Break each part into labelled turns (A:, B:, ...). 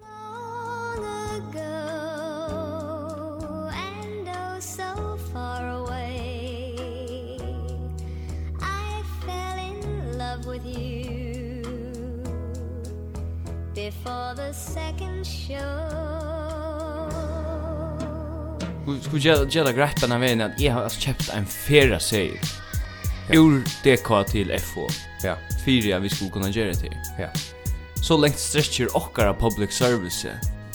A: oh, before the second show
B: Skulle skulle göra göra grepp den här vägen att jag har alltså köpt en färra serie. Ur DK till FO.
C: Ja,
B: Fyra vi skulle kunna göra det till.
C: ja.
B: Så länge stretcher ochkara public service.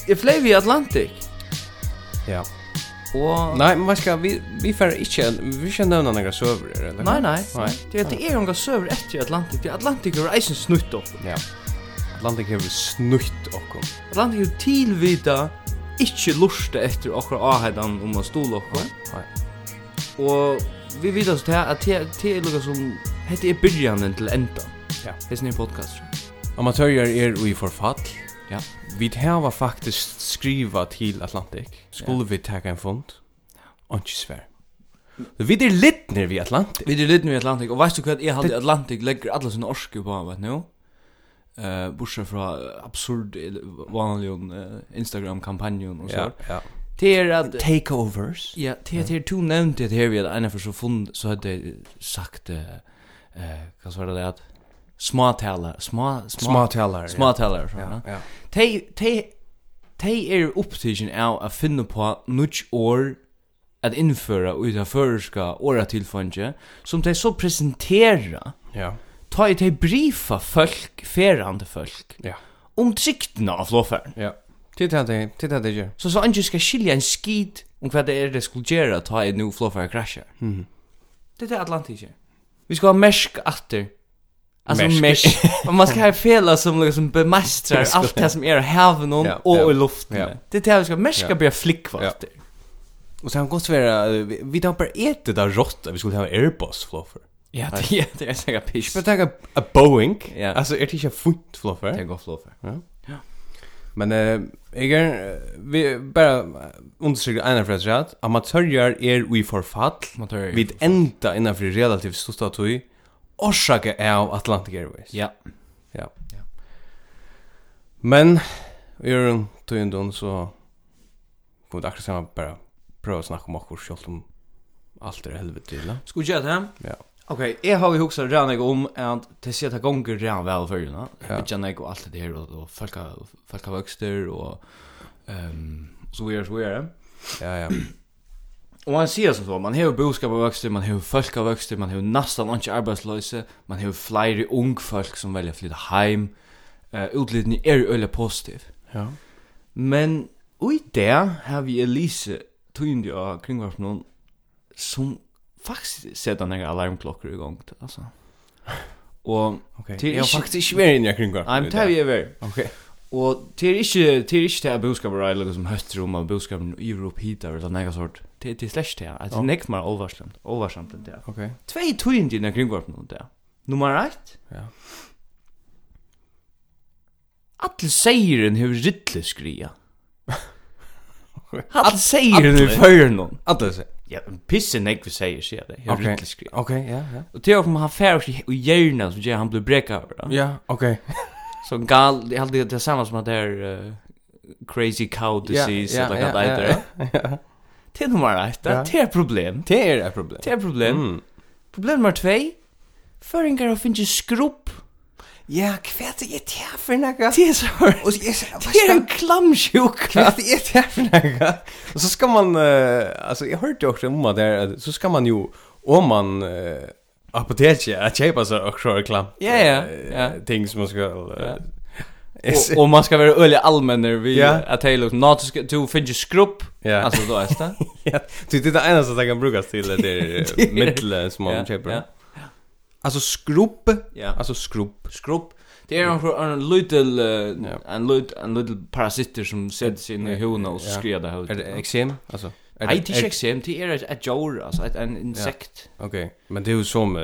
B: Jag flög Er i Atlantic.
C: Ja.
B: Och
C: Nei, men vad ska vi vi får inte vi ska nämna några server eller?
B: nej nej.
C: Nej.
B: Det vet det är några server efter Atlantic. Det är Atlantic och Isen snutt upp.
C: Ja. Atlantic har snutt och
B: Atlantic har tillvita inte lusta efter ochkara ahedan om att stola ochkara.
C: Nej.
B: Og vi vet altså til at det det er lukka som Hette er byrjanen til enda
C: Ja.
B: Hesten er podcast
C: Amatörer är i förfall.
B: Ja.
C: Vi har faktiskt skriva till Atlantic. Skulle vi ta en fond? Och svär. Vi är litner vi Atlantic.
B: Vi er litt nu i Atlantik Og veist du hva jeg halde i Atlantik legger alla sine orske på vet nu Uh, bortsett fra eh, absurd eh, vanlig uh, Instagram-kampanjen og så.
C: Ja, ja.
B: Det er at...
C: Takeovers.
B: Ja, det er det er to nevnt det her vi at ene for så fund, så hadde jeg sagt, eh, eh, hva så var det det at, småtaler, små, små,
C: Smartalar.
B: småtaler, sånn,
C: Ja,
B: ja.
C: ja.
B: Tei tei tei er upptigen av at finna på nudge or at innføra og ta førska åra tilfange som tei så presentera
C: Ja.
B: ta i tei brifa folk ferande folk
C: Ja.
B: om triktna av flåfern
C: Ja. Titta det, titta det gör.
B: så så angi skal skilja en skid om hva det er det skulle gjera ta i nu flåfern krasja mm.
C: Mhm.
B: det er Atlantik vi skal ha mersk atter Altså
C: Mersk.
B: mersk. Og man skal ha fela som liksom bemestrar alt det som er av haven og
C: Ja, ja.
B: og i luften.
C: Ja.
B: Det er det vi skal merska
C: Ja.
B: bli flickva
C: Ja.
B: efter.
C: Och sen gott vara vi, vi tar bara ett det där rått. Vi skulle ha Airbus fluffer.
B: Ja,
C: er-
B: det är det är säkert piss.
C: Ska ta a Boeing?
B: Ja.
C: Alltså er är det inte fullt fluffer?
B: Det går fluffer.
C: Men eh jag är vi bara eh, undersöker ena för att säga att amatörer är vi för fall.
B: Man tar
C: Vi ända innan för relativt stort att vi orsaka är av Atlantic Airways.
B: Ja.
C: Ja. Men vi gör en tundon så kommer det akkurat samma bara pröva att snacka om oss självt om um allt er det helvete till.
B: Ska vi göra det? här?
C: Ja.
B: Okej, jag har ju också redan jag om att det ser att gånger redan väl för ju,
C: Ja.
B: Ja. Jag vet allt det här och och folk har folk har växter och ehm så vi är så vi är. det.
C: Ja ja.
B: Och man ser som så, man har boskap av växter, man har folk av växter, man har nästan inte arbetslösa, man har flera ung folk som väljer att flytta hem. Eh utlitning är ju öle positiv.
C: Ja.
B: Men ui der har vi Elise Tundi og kringvarpnån som faktisk setter en alarmklokker i gang, altså. Og
C: Okej.
B: Det är
C: Jag har
B: inte-
C: faktiskt inte mer inne kring det.
B: I'm tell you ever.
C: Okej.
B: Og det er ikke det er ikke det budskapet er liksom høster om at budskapen i Europa hit eller sånn egen sort. Det det er slash det. At det
C: Ja.
B: nekk mer oversamt, oversamt enn det.
C: Okej.
B: Tvei tundi i kringvarpnån der. Nummer 1.
C: Ja.
B: All seieren hevur riddle skria. All seieren
C: Atle?
B: hevur fyrir noen.
C: Alla så.
B: Ja, men pissen nek vi säger sig det. Jag
C: Okej.
B: okay. riktigt skri.
C: Okej, ja ja.
B: Och det är om han färg i- i hjärnan som gör han blir bräckad. Ja.
C: Ja, okej.
B: Så gal, det är alltid det samma som att det är eh, crazy cow disease eller vad det heter.
C: ja.
B: Det är nummer ett.
C: Ja.
B: Det är ett er problem.
C: Det är ett er problem.
B: Det är ett problem.
C: Mm.
B: Problem nummer två. Föringar har finnit skrupp.
C: Ja, kvärt
B: er
C: är det här för några.
B: Det är så här.
C: Och jag säger,
B: Det är en klamsjuka.
C: Kvärt är det här för några. Och så ska man eh, alltså jag hörde ju också om att det är- så ska man ju om man eh, apoteket att köpa så och så reklam.
B: Ja, ja,
C: eh,
B: ja.
C: Ting som man ska eh,
B: Och, och man ska vara öliga allmänner vid
C: Ja.
B: att det är liksom nautiska, du finner skrupp.
C: Ja.
B: Alltså då är det.
C: Ja, det är det enda som det kan brukas till det är medel som
B: Ja,
C: man köper.
B: ja.
C: Alltså skrubb,
B: Ja.
C: alltså skrubb.
B: skrubb. Det är en en liten eh,
C: Ja.
B: en liten en liten parasitter som sätter sig in i hona och
C: Ja.
B: skräder där
C: Är Er det er eksem? Alltså är
B: Nej, det är
C: är-
B: inte eksem, det er är ett- ett jor, alltså ett en insekt.
C: Okej, men det är ju som eh,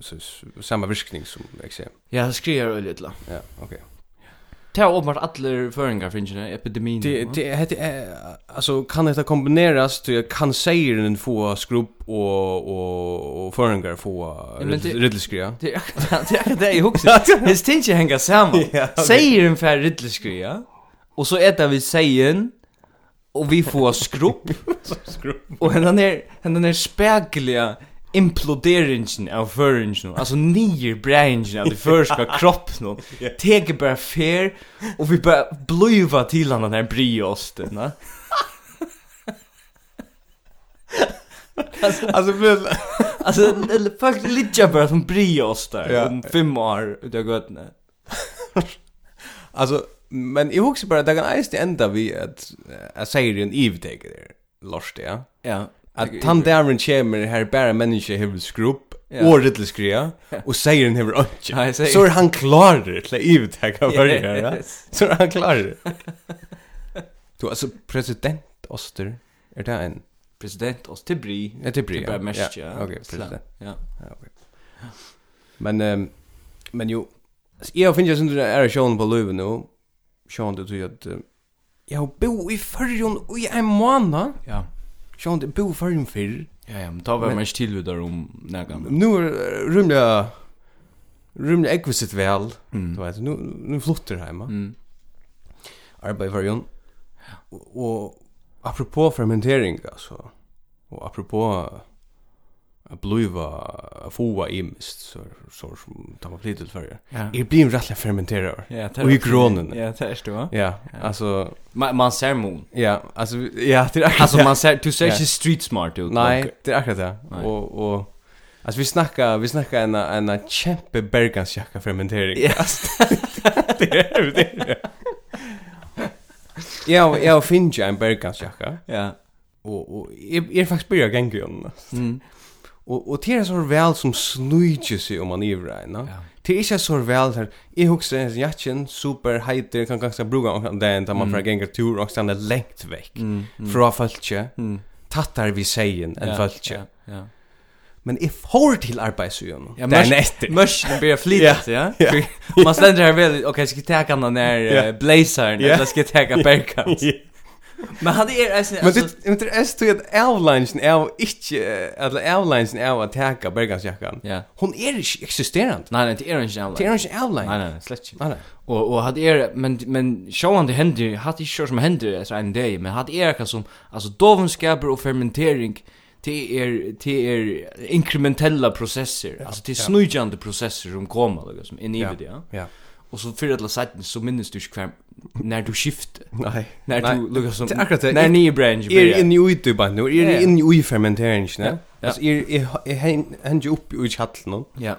C: så- så- samma virkning som eksem.
B: Ja, det skriver öl lite.
C: Ja, okej.
B: Det har uppenbart alla föringar finns ju epidemin.
C: Det det heter eh, alltså kan det kombineras till kan säga den få skrubb och och och föringar få
B: Ja, men det-
C: riddelskrya.
B: det är det är det jag huxar. Det ständs ju hänga samman.
C: Ja, okej.
B: Säger en färd rittelskria. Och så äter vi sägen och vi får skrupp. er-
C: Skrubb.
B: Och henne är henne är spägliga imploderingen av føringen, altså nyer breingen av det førska kroppen, teker bare fer, og vi bare bluva til han den her bryosten, ne?
C: Alltså men
B: Alltså, det- folk ligger bara som bryostar
C: Ja.
B: om fem år utav gøtene.
C: alltså men i hooks bara där kan ice det ända vi att jag säger en eve take där. Lost ja.
B: Ja.
C: Att han där en chamber här er bara människa har skrupp
B: Ja.
C: och riddle skrea och säger den har
B: Ja,
C: inte.
B: jag säger-
C: Så är han klar till eve take av början. ja.
B: Yes.
C: Så är han klar. Du alltså president Oster är det en
B: President oss till bry.
C: Ja, det blir
B: Till bara er mest, ja.
C: Okej, precis.
B: Slam. Ja.
C: Men ehm men jo alltså, jag finns ju sån där är shown er på Löv nu. Shown det till att eh, jag bo i förrjon och i en månad.
B: Ja.
C: Shown det bo i förrjon för.
B: Ja, ja, men ta var
C: Men-
B: mest till där om nägan.
C: Nu er, eh, rymliga rymliga ekvisit väl. Du
B: Mm.
C: vet, nu nu flottar hemma.
B: Mm.
C: Arbetar i förrjon. Och, och apropå fermentering alltså. Och apropå att bliva att få i mist så så som tar man lite till förr.
B: Ja.
C: Jag blir en rättlig fermenterare.
B: Ja, det
C: Och i kronen.
B: Ja, det är det va?
C: Ja, alltså
B: Man, man ser mon.
C: ja, alltså ja, det är akkurat
B: Alltså
C: det.
B: man ser du ser
C: Ja.
B: inte street smart ut.
C: Nej,
B: Och-
C: det är akkurat det.
B: Nej.
C: Och och alltså vi snackar vi snackar en en kämpe bergansjacka fermentering.
B: Ja.
C: det är det. är det. Ja, jag finns ju en bergansjacka
B: Ja.
C: och och jag jag är faktiskt börjar gänga igen.
B: Mm.
C: Och och det är så väl som snöjt sig om man är right, va?
B: Ja.
C: Det är inte så väl här. Jag huxar en jacken super heiter kan ganska bruka den där man får gänga tur och stanna längt väck.
B: Mm. mm,
C: Fra fölkje.
B: Mm.
C: tattar vi seien en
B: Ja,
C: fölkje.
B: Ja. ja.
C: Men jeg får til arbeidsøyen.
B: Ja,
C: det er
B: mørkt-
C: netter.
B: Mörsen börjar flyta sig, ja.
C: Ja.
B: För Man ständer här väl, okej, ska jag ta den där
C: Ja.
B: eh, blazern
C: Ja.
B: eller ska jag ta Bergkamp? Men han är alltså
C: Men det
B: alltså
C: men det er stod at avlansen av ikke, eller avlansen av at teka bergansjakkan.
B: ja.
C: Hon er ikke eksisterant.
B: Nej, nej, det är inte
C: Det
B: jävla.
C: er ikke
B: Nej,
C: avlansen.
B: nej, släpp.
C: Nei, nei.
B: Och och hade er men men showande händer, hade inte kör som händer alltså en dag, men hade er kan som alltså dovenskaper och fermentering till er till er inkrementella processer, alltså till
C: ja.
B: snujande processer som kommer liksom in i det, ja.
C: Ja.
B: Och så för alla sidan så minns du inte kvar när du skiftar.
C: Nei. er
B: När du lukar som
C: Det är akkurat det.
B: när ni branch
C: Jeg er inne i ui bara nu, jeg
B: Ja,
C: er
B: ja.
C: inne i ui fermenteringsne.
B: Ja, ja.
C: Altså, jeg- jeg jeg hen- henger opp i ui kjallen,
B: Ja.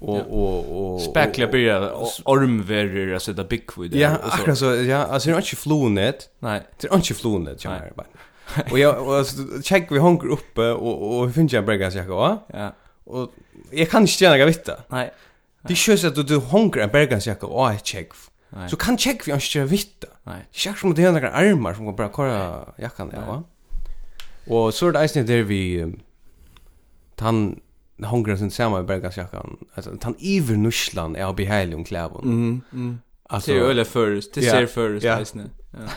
C: og, og, og...
B: Spekla börja ormverer alltså där big food
C: Ja, akkurat så, ja, altså, jeg er ikke flonet,
B: Nej.
C: Det er är inte flonet, jag
B: Nej.
C: menar bara. Och jag och alltså, check vi honker uppe och och vi finns jag bräckas jag va?
B: Ja.
C: Och jag kan inte gärna veta.
B: Nej.
C: Det er körs att du, du honker en bräckas jag och jag check.
B: Nej.
C: er Så kan check vi inte veta.
B: Nej.
C: Jag som det är några armar som går bara kolla jackan där va. Och så är det isen där vi um, han hungrar sin samma bräckas jackan. Alltså han iver nuschlan är behälig om klävon.
B: Mm. Mm.
C: Alltså
B: Det är ju eller först, det
C: Ja.
B: ser först
C: Ja.
B: nästan. Ja.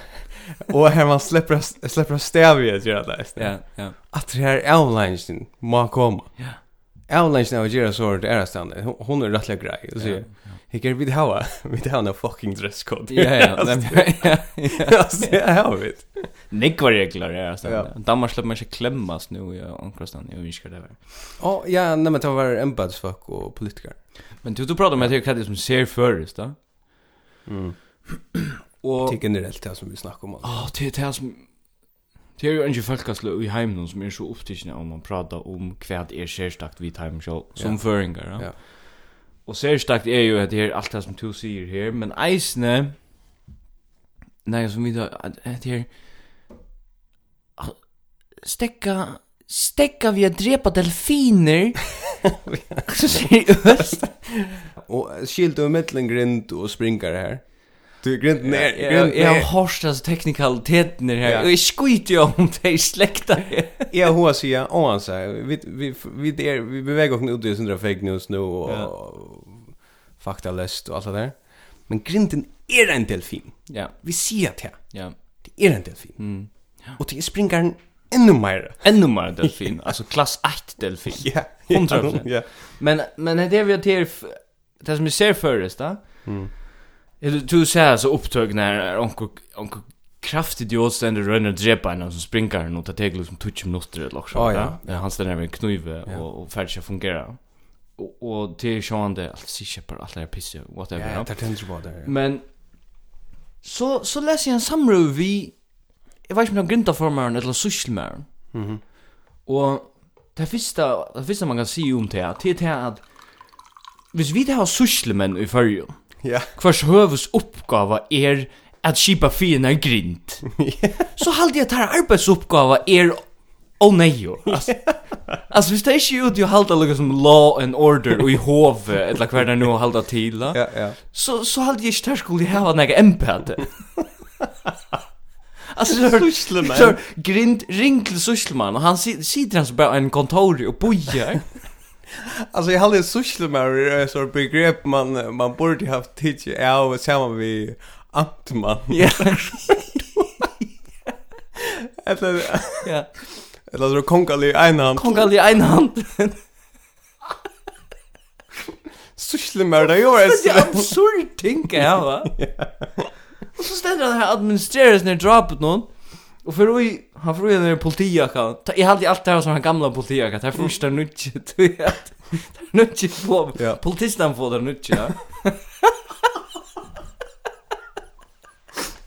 C: och här man släpper släpper stävjet gör det. isen.
B: Ja, ja.
C: at det her avlansen må komme.
B: Ja.
C: Avlansen av Jira Sword er stande. Hon- Hon er rettelig grei. Og sier, hikker vi det hava, vi det hava no fucking dresscode.
B: Ja, ja. nej, men- ja, ja.
C: Altså, det er hava
B: Nick var regler är
C: Ja.
B: alltså. Danmark släpper man sig klämmas nu i omkostan. Jag önskar det var.
C: Å, ja, nei, men det var embedsfolk och politiker.
B: Men du du pratar om att det är som ser först, då.
C: Mm.
B: Och
C: Det er generelt det som vi snakker om. altså.
B: Ja, det är det här som Det är ju inte folkastle i heimen som är så upptidna om man pratar om kvad är särstakt vid heimen själv som
C: Ja.
B: föringar. Ja. er
C: Ja.
B: Och särstakt är ju att det är allt det som du säger här, men eisne nej som vi då att det är stäcka stäcka vi att drepa delfiner. Seriöst?
C: Og skilt og mittlen grind og springer her. Du, grinden er...
B: Jag
C: grinden
B: jag
C: er-
B: har hörst alltså teknikaliteten i det här.
C: Ja.
B: Jag skiter ju om det är släkta.
C: Ja, hon har sagt, och han sa, vi vi vi är vi beväger oss ut i sådana fake news nu och
B: Ja.
C: faktalöst och allt det där. Men er grinden är en delfin.
B: Ja,
C: Vi ser att här.
B: ja.
C: Det är en delfin.
B: Mm.
C: Och det springer en ännu mer.
B: Ännu mer delfin, alltså klass 1 delfin.
C: Ja,
B: 100%.
C: Ja.
B: Men men det är vi att det är f- det som vi ser förrest då. Mm. Du du ser så upptag när onkel onkel kraftidiot ständer runt och drepa en som sprinkar nu ta tegel som touch minuter eller så.
C: Ja, ja.
B: Men han ständer med en kniv eh,
C: Ja.
B: och och färdigt fungera. Och och det är sjönde allt sig på alla pisse whatever.
C: Ja,
B: Ja,
C: det tänker på det.
B: Men så så läser jag en samröv vi jag vet inte om grindaformaren eller sysselmaren.
C: Mhm.
B: Og det fyrsta, det fyrsta man kan si om det, det er det at hvis vi det har suslemenn i fyrjun,
C: Ja.
B: hvers høves oppgava er at skipa fina en grind, så halde jeg at her arbeidsoppgava er å neio. Altså, altså hvis det er ikke ut i å halda lukka som law and order og i hove, eller hver det nu å halda til, da,
C: Ja, ja.
B: så, så halde jeg ikke her skulle jeg hava nega empate. Altså, så hørt,
C: Syslemann.
B: Så grind ring till Susselman och han si- sitter han så bara en kontor och bojar.
C: Alltså jag hade sysselmärare så begrepp eh, man eh, man borde haft tid er ja och samman vi Antman.
B: Ja.
C: Eller
B: Ja.
C: eller så er kongali einhand.
B: Kongal i en hand.
C: Sysselmärare jag är
B: Det är er absurd tänka jag va. Och så ställer han här administreras när drapet någon. Och för oj, han får ju den politijackan. Jag hade allt det här som han gamla politijackan. Det här första nutjet. Det här nutjet på.
C: Ja.
B: Politistan får den nutjet. ja.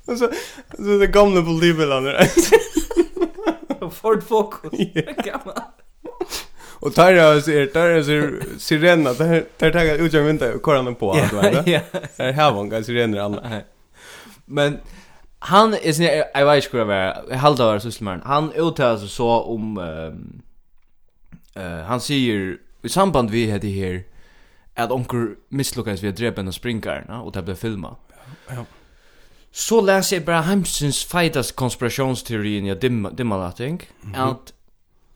C: så så det gamla politibilarna.
B: Ford Focus. Gammal.
C: Och där är så är där är så sirena där där tar ut genom vinter och kollar den på allt va.
B: Ja.
C: Där har man ganska sirener alla.
B: Nei. Men han er sin, jeg vet ikke hvor jeg var, jeg halda var sysselmæren, han uttaler seg så om, ehm, eh, han sier, i samband vi hette her, at onkur mislukkast vi har drept en av springarna, og det ble filma.
C: Ja.
B: Så leser jeg bare Heimsins feitas konspirationsteorien jeg dimma, dimma lating,
C: Mhm.
B: at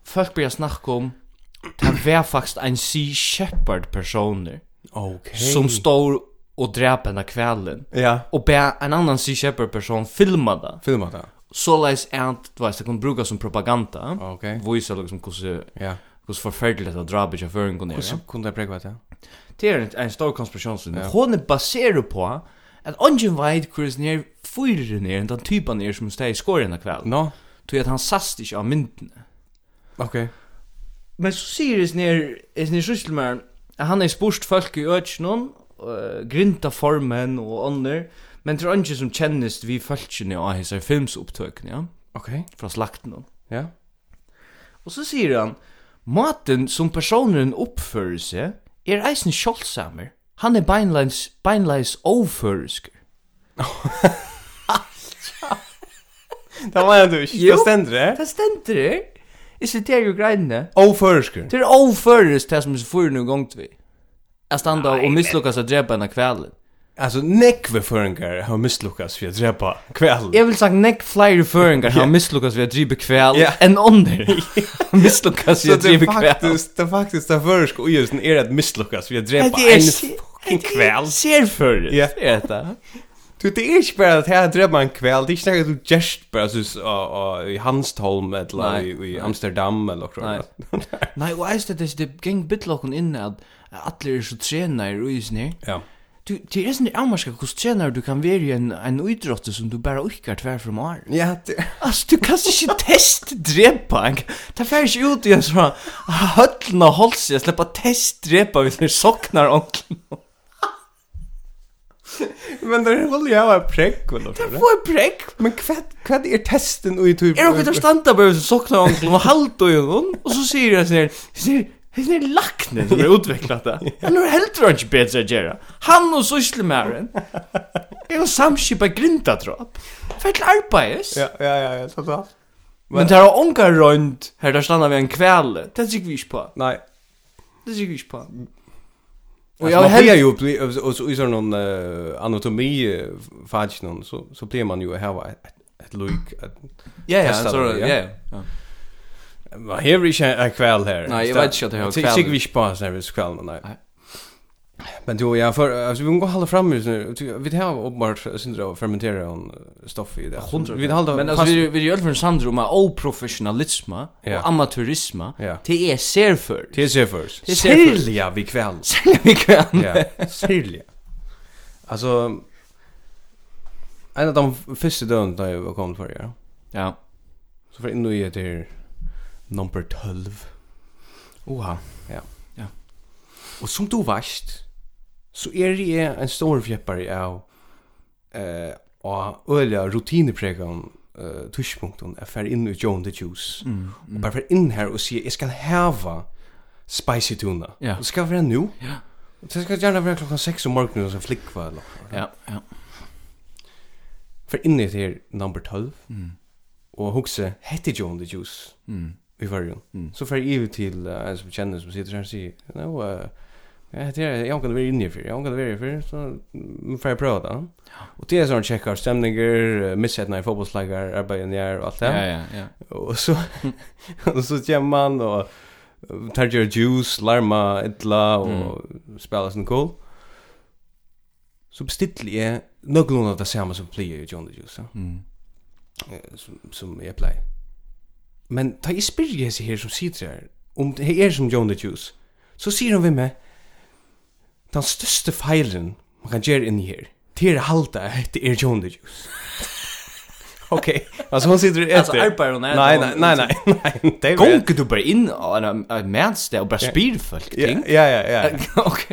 B: folk blir snakka om, det var faktisk en Sea Shepherd personer,
C: Okej.
B: som står og dreper henne kvällen
C: Ja.
B: och be en annan Sea Shepherd person filma det.
C: Filma det.
B: Så läs att du vet, det kan brukas som propaganda.
C: Okej.
B: Voisa liksom hur
C: Ja.
B: hur förfärligt att dra bitch för en
C: Och så
B: gång.
C: kunde jag prägva det.
B: Det är en, en stor konspiration som
C: Ja.
B: hon är baserad på att ungen vet hur det är fyra ner den typen är som steg i skåren kväll.
C: Nå.
B: Tror att han sast inte av mynden.
C: Okej.
B: Men så sier det ner är ni sysselmän att han är spurst folk i öknen uh, grinta formen och annor men er tror inte som kännes vi folkene av hessa filmsupptökning ja
C: Okej.
B: från slakten.
C: Ja.
B: Och så säger han, maten som personen uppför sig är eisen kjolsamer. Han är beinleis, beinleis oversker.
C: Det var jag du.
B: Jo.
C: Det ständer det.
B: Det ständer det. Jag citerar ju grejene.
C: Oförsker.
B: Det är oversk det som är så fyra nu gångt vi. Jag stannar och missluckas att drepa henne kvällen.
C: Alltså nekve förringar har misslyckats för att drepa kväll.
B: Jag vill sagt neck flyer föringar har missluckas vi att driva kväll
C: Ja.
B: en under. missluckas vi
C: Så
B: att
C: det er är
B: driva kväll.
C: faktiskt, det är faktiskt det förringar och just är att misslyckas för att drepa
B: Det er är
C: en fucking kväll.
B: ser för
C: Ja.
B: det. Ja.
C: Du, det är inte er bara att här drepa en kväll, det är inte något du gest bara så uh, uh, i Hanstholm eller
B: Nej.
C: i, i Amsterdam eller något
B: Nei.
C: sånt.
B: Nei, og eist at det geng bitlokken inn at atler er så trenar i ruisen her.
C: Ja.
B: Du, det er sånn avmarska hos trenar du kan være i en, en uidrotte som du bara uikkar tver fra mar.
C: Ja, det,
B: Altså, du kan ikke test drepa, en. Det fer ikke ut i en sånn høllna holsi, jeg slipper test drepa hvis du soknar onklen.
C: men det håller jag vara präck eller något.
B: Få en prekk!
C: Men kvad kvad är testen och i typ
B: Er okkur der standa bare som soknar onklen og halda i hon, og så sier jeg sånn her, sier, Hessin er lakne som er utviklat det. Han er heldur han ikke betre at gjøre. Han og sysselmæren er jo samskipa grindadrap. Fer til arbeides.
C: Ja, ja, ja, ja, så så.
B: Men det er ongar røynd her der standa vi en kvele. Det sikker vi ikke på.
C: Nej.
B: Det sikker vi ikke på.
C: Och
B: jag
C: jag
B: hel-
C: har ju bli och så i sån någon eh, anatomi fag någon så så blir man ju här var ett look
B: Ja, ja,
C: Testa
B: så,
C: det, ja.
B: ja, ja.
C: vad här vi en kväll här.
B: Nej, jag vet inte att det är en kväll.
C: Jag tycker vi sparar så här kväll nej.
B: Nej.
C: Men då jag för alltså vi går hålla fram just nu. Ty- Vi har uppenbart syndra fermentera en stoff i det. Vi håller
B: Men alltså vi vi gör för en sandrum av oprofessionalism
C: Ja.
B: och amatörism.
C: Ja.
B: Det är serför.
C: till sig först.
B: Till sig först.
C: Sälja vi kväll.
B: er Sälja vi kan.
C: Ja, sälja. Alltså en av de første døgn da jeg var kommet for ja.
B: Ja.
C: Så for inn og jeg til number 12.
B: Oha.
C: Og som du varst, så er jeg en stor fjeppar av eh, og øyla rutinepregan eh, tushpunkten jeg fer inn i John the Juice
B: Mm.
C: og bare fer inn her og sier jeg skal hava spicy tuna
B: Ja.
C: det skal være nu
B: Ja.
C: det skal gjerne være klokka 6 om morgenen um og så flikva eller noe.
B: Ja, ja.
C: fer inn i til number 12
B: Mm.
C: og hugsa hette John the Juice
B: Mm.
C: i varjon.
B: Mm.
C: Så fer jeg til eh, en som kjenner som sitter her og sier, no, uh, ja, det er, jeg kan være inne i fyr, jeg kan være inne i fyr, så mm, får jeg prøve det. Og det er sånn tjekkar stemninger, eh, missetna i fotbollslagar, arbeidet nær og alt det.
B: Ja, ja, ja.
C: Og så, og så kommer man og eh, tar gjør juice, larma, etla og
B: Mm.
C: spela sånn cool. Så bestiller jeg noen av det samme som blir i John the Juice. Ja
B: Mm.
C: eh, som, som jeg pleier. Men ta i spyrje hese her som sitter her, om det er som John the Juice, så sier han ved meg, den største feilen man kan gjøre inni her, det er halda at det er John the Juice. ok, altså hun sitter etter.
B: Altså, arbeider hun er-
C: Nei, nei, nei, nei, nei, det er
B: Gongu du bara inn er á en mennste og bara
C: Ja.
B: spyr folk
C: Ja,
B: ting?
C: ja, ja, ja.
B: Ok.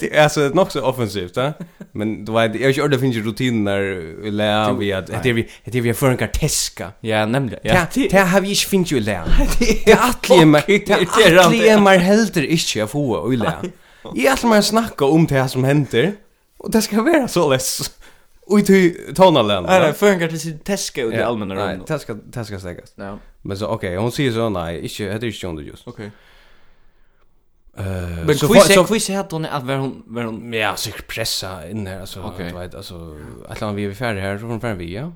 C: Det är alltså nog så offensivt, va? Men du vet, jag kör det finns rutiner där lä vi att det vi det vi för en karteska.
B: Ja, nemlig.
C: Ja,
B: Ja,
C: det har vi ikke finnet jo i lær. Det er atlig er meg, det er
B: irriterande.
C: atlig er meg helder ikke å få i lær. Jeg er meg å snakke om det som hender, og det skal være så less. Og i tonalen.
B: Nei, nei, føringar er til sin teske ut i allmänna
C: Nei,
B: rum.
C: det skal, det skal stekkes.
B: Ja,
C: Men så, ok, hun sier så, nei, ikke, det er ikke John the Juice.
B: ok.
C: Eh,
B: Men
C: så
B: kvis
C: fa- så-
B: er kvis er hon at var hon var hon
C: Ja, sikkert pressa inn her, altså,
B: Ok.
C: du vet, altså, et eller annet vi er ferdig her, så får hun ferdig vi, ja.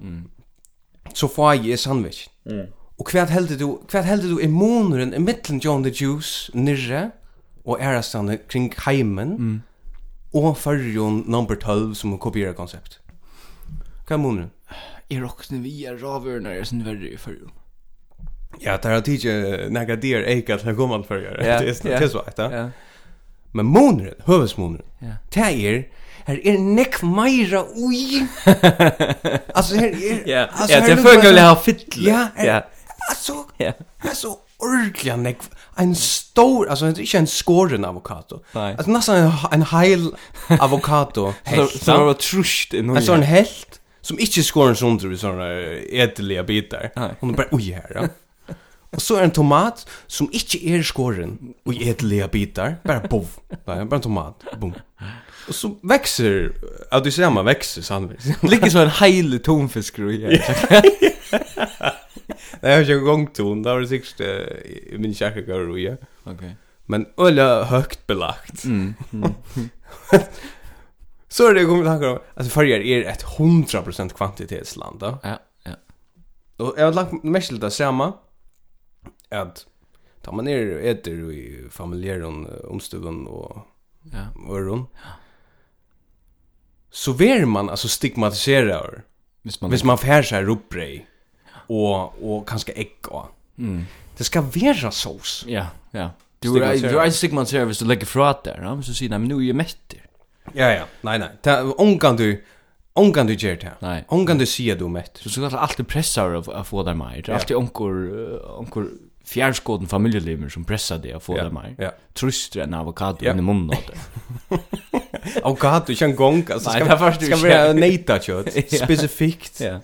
C: Så får jeg sandwich. Og hva heldur du, hva heldur du er måneren i mittlen John the Juice nirre, og ærastane kring heimen, og fyrjon number 12 som hun kopierer konsept. Hva er måneren?
B: er rockne vi er ravørnar er sin verre i förr.
C: Ja, det er har tidsi nega dyr eika til kommand fyrir,
B: Ja,
C: er det
B: ja.
C: er så eit, ja.
B: Ja.
C: Men måneren, høvesmåneren,
B: Ja.
C: det er, her er nekk meira ui. Altså, her er... altså, her lukkar-
B: ha fyll.
C: Ja, her-
B: ja. er-
C: Altså,
B: Ja.
C: Det er så ordentlig han nekv. En stor, altså det er ikke en skåren avokado.
B: Nei.
C: Altså nesten en, en heil avokado.
B: Så
C: helt,
B: så
C: da.
B: var trust i
C: En
B: nu.
C: sånn helt, som ikke skåren sunder i sånne edelige bitar.
B: Nei.
C: Hun er bare, ui her, ja. Og så er en tomat som ikke er skåren i edelige bitar. Bare bov. Nei, bare en tomat. Boom. Og så vekser, ja du ser man vekser sannvis.
B: Ligger så en heil tonfisk i her.
C: Det er jo ikke en gongton, det var det sikkert eh, i min kjærkakar og ja.
B: Okej.
C: Men øyla høgt belagt.
B: Mm.
C: Så er det kommet tankar om at farger er et 100% kvantitetsland. Da.
B: Ja, ja.
C: Og jeg har lagt mest til det samme at da man er og eter i eh, familiæren omstuen og
B: Ja.
C: øren så ver man altså stigmatiserar
B: Visst man.
C: hvis man fær seg rupprei og, og kanskje egg og
B: Mm.
C: det skal være sås
B: Ja, ja. Du
C: Stigma
B: är
C: server.
B: du er är stigma service du lägger frat där, ja, men så säger nej, men er nu är jag mätt.
C: ja ja nei nei ta, ongan du ongan du gjør det
B: Nei.
C: ongan du sier du er mett
B: Så ska det alltid pressar av att få där mer. Det är
C: Ja.
B: alltid onkor eh, onkor fjärrskåden familjelimmer som pressar det att få där mer.
C: ja
B: Trustar en avokado
C: Ja.
B: in i munnen åt det.
C: Och gott, du kan gång alltså
B: Nej,
C: ska
B: det var först du
C: ska
B: kör.
C: vara nata kött specifikt.
B: Ja.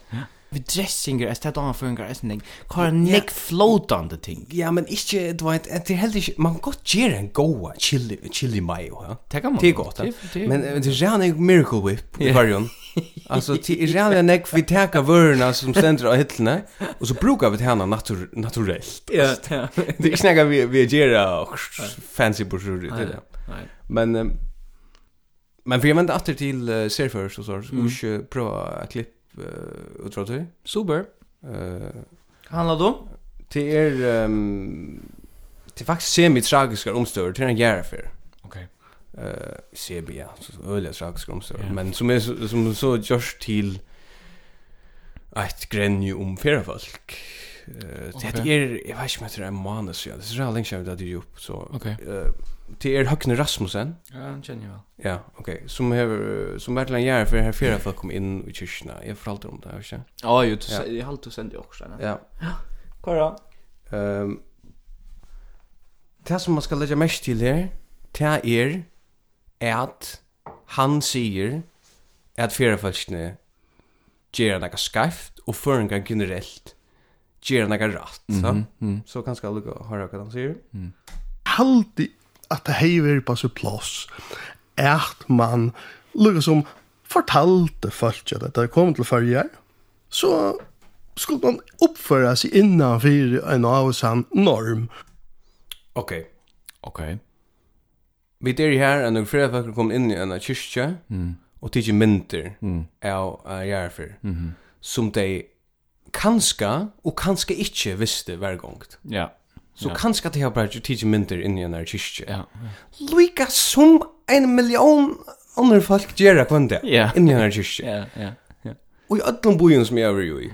B: Vi dressinger, jeg stedet an er for en greie, jeg har en nekk flåtande er ting.
C: Ja, men inte du eh, vet det är helt inte er man gott ger en goa chili chili mayo, ja.
B: Det kan man.
C: Det är gott. ja. Men
B: Men,
C: eh, det är en miracle whip i varjon. Alltså det är en er nek vi tar vörna som ständer av hyllorna och så brukar vi tärna natur naturellt.
B: ja, ja.
C: Det är snäga vi vi ger och fancy brosur det
B: Nej,
C: där.
B: nej.
C: Men eh, men för jag vände åter till uh, server så så ska vi ju prova ett klipp uh, utrot.
B: Super.
C: Eh
B: Hva handler det om?
C: Det er um, Det er faktisk semi-tragiske omstøver Det er en gjerrefer
B: Ok.
C: uh, Semi, ja så- så Øyelig tragiske omstøver
B: Ja.
C: Men som er så- som så gjørs til Et grenje om ferafolk um Eh,
D: Ok.
C: Det er, jeg vet ikke om det er en måned siden, det er så lenge siden det er gjort, så...
D: Ok.
C: eh, Det er Høgne Rasmussen,
B: Ja, han kjenner jeg vel.
C: ja, ok, som hever, som vært til en gjerne for her fyrir folk kom inn i kyrkina, jeg fortalte om det, ikke?
B: Ja, jo, du
C: Ja.
B: se- jeg halte å sende også. Ja.
C: Ja.
B: Hva er det?
C: Ehm Det som man skal legge mest til her, det er at han sier at fjerdefelskene gjør noe skarft, og føringar generelt gjør noe rett. Mm -hmm. Så kan skal lukka høre hva han sier.
E: haldi at det heiver på sin plass at man lukka som fortalte folk at det kom til følger, så skulle man oppføre seg innanfor en avsam norm.
C: Ok,
B: Ok.
C: vi er her, og når fjerdefelskene kom inn i en kyrkje, og tidsi mynter av av gjerfer, som de kanska, og kanska ikkje visste hver gongt.
B: Ja.
C: Så
B: Ja.
C: kanskje det har bare tidsi mynter inn i en her kyrkje.
B: Ja.
C: Lika som en million andre folk gjør det kvann det.
B: Ja.
C: Inni denne kyrkje.
B: Ja, ja. ja.
C: Og i öllum bojen som jeg er jo i.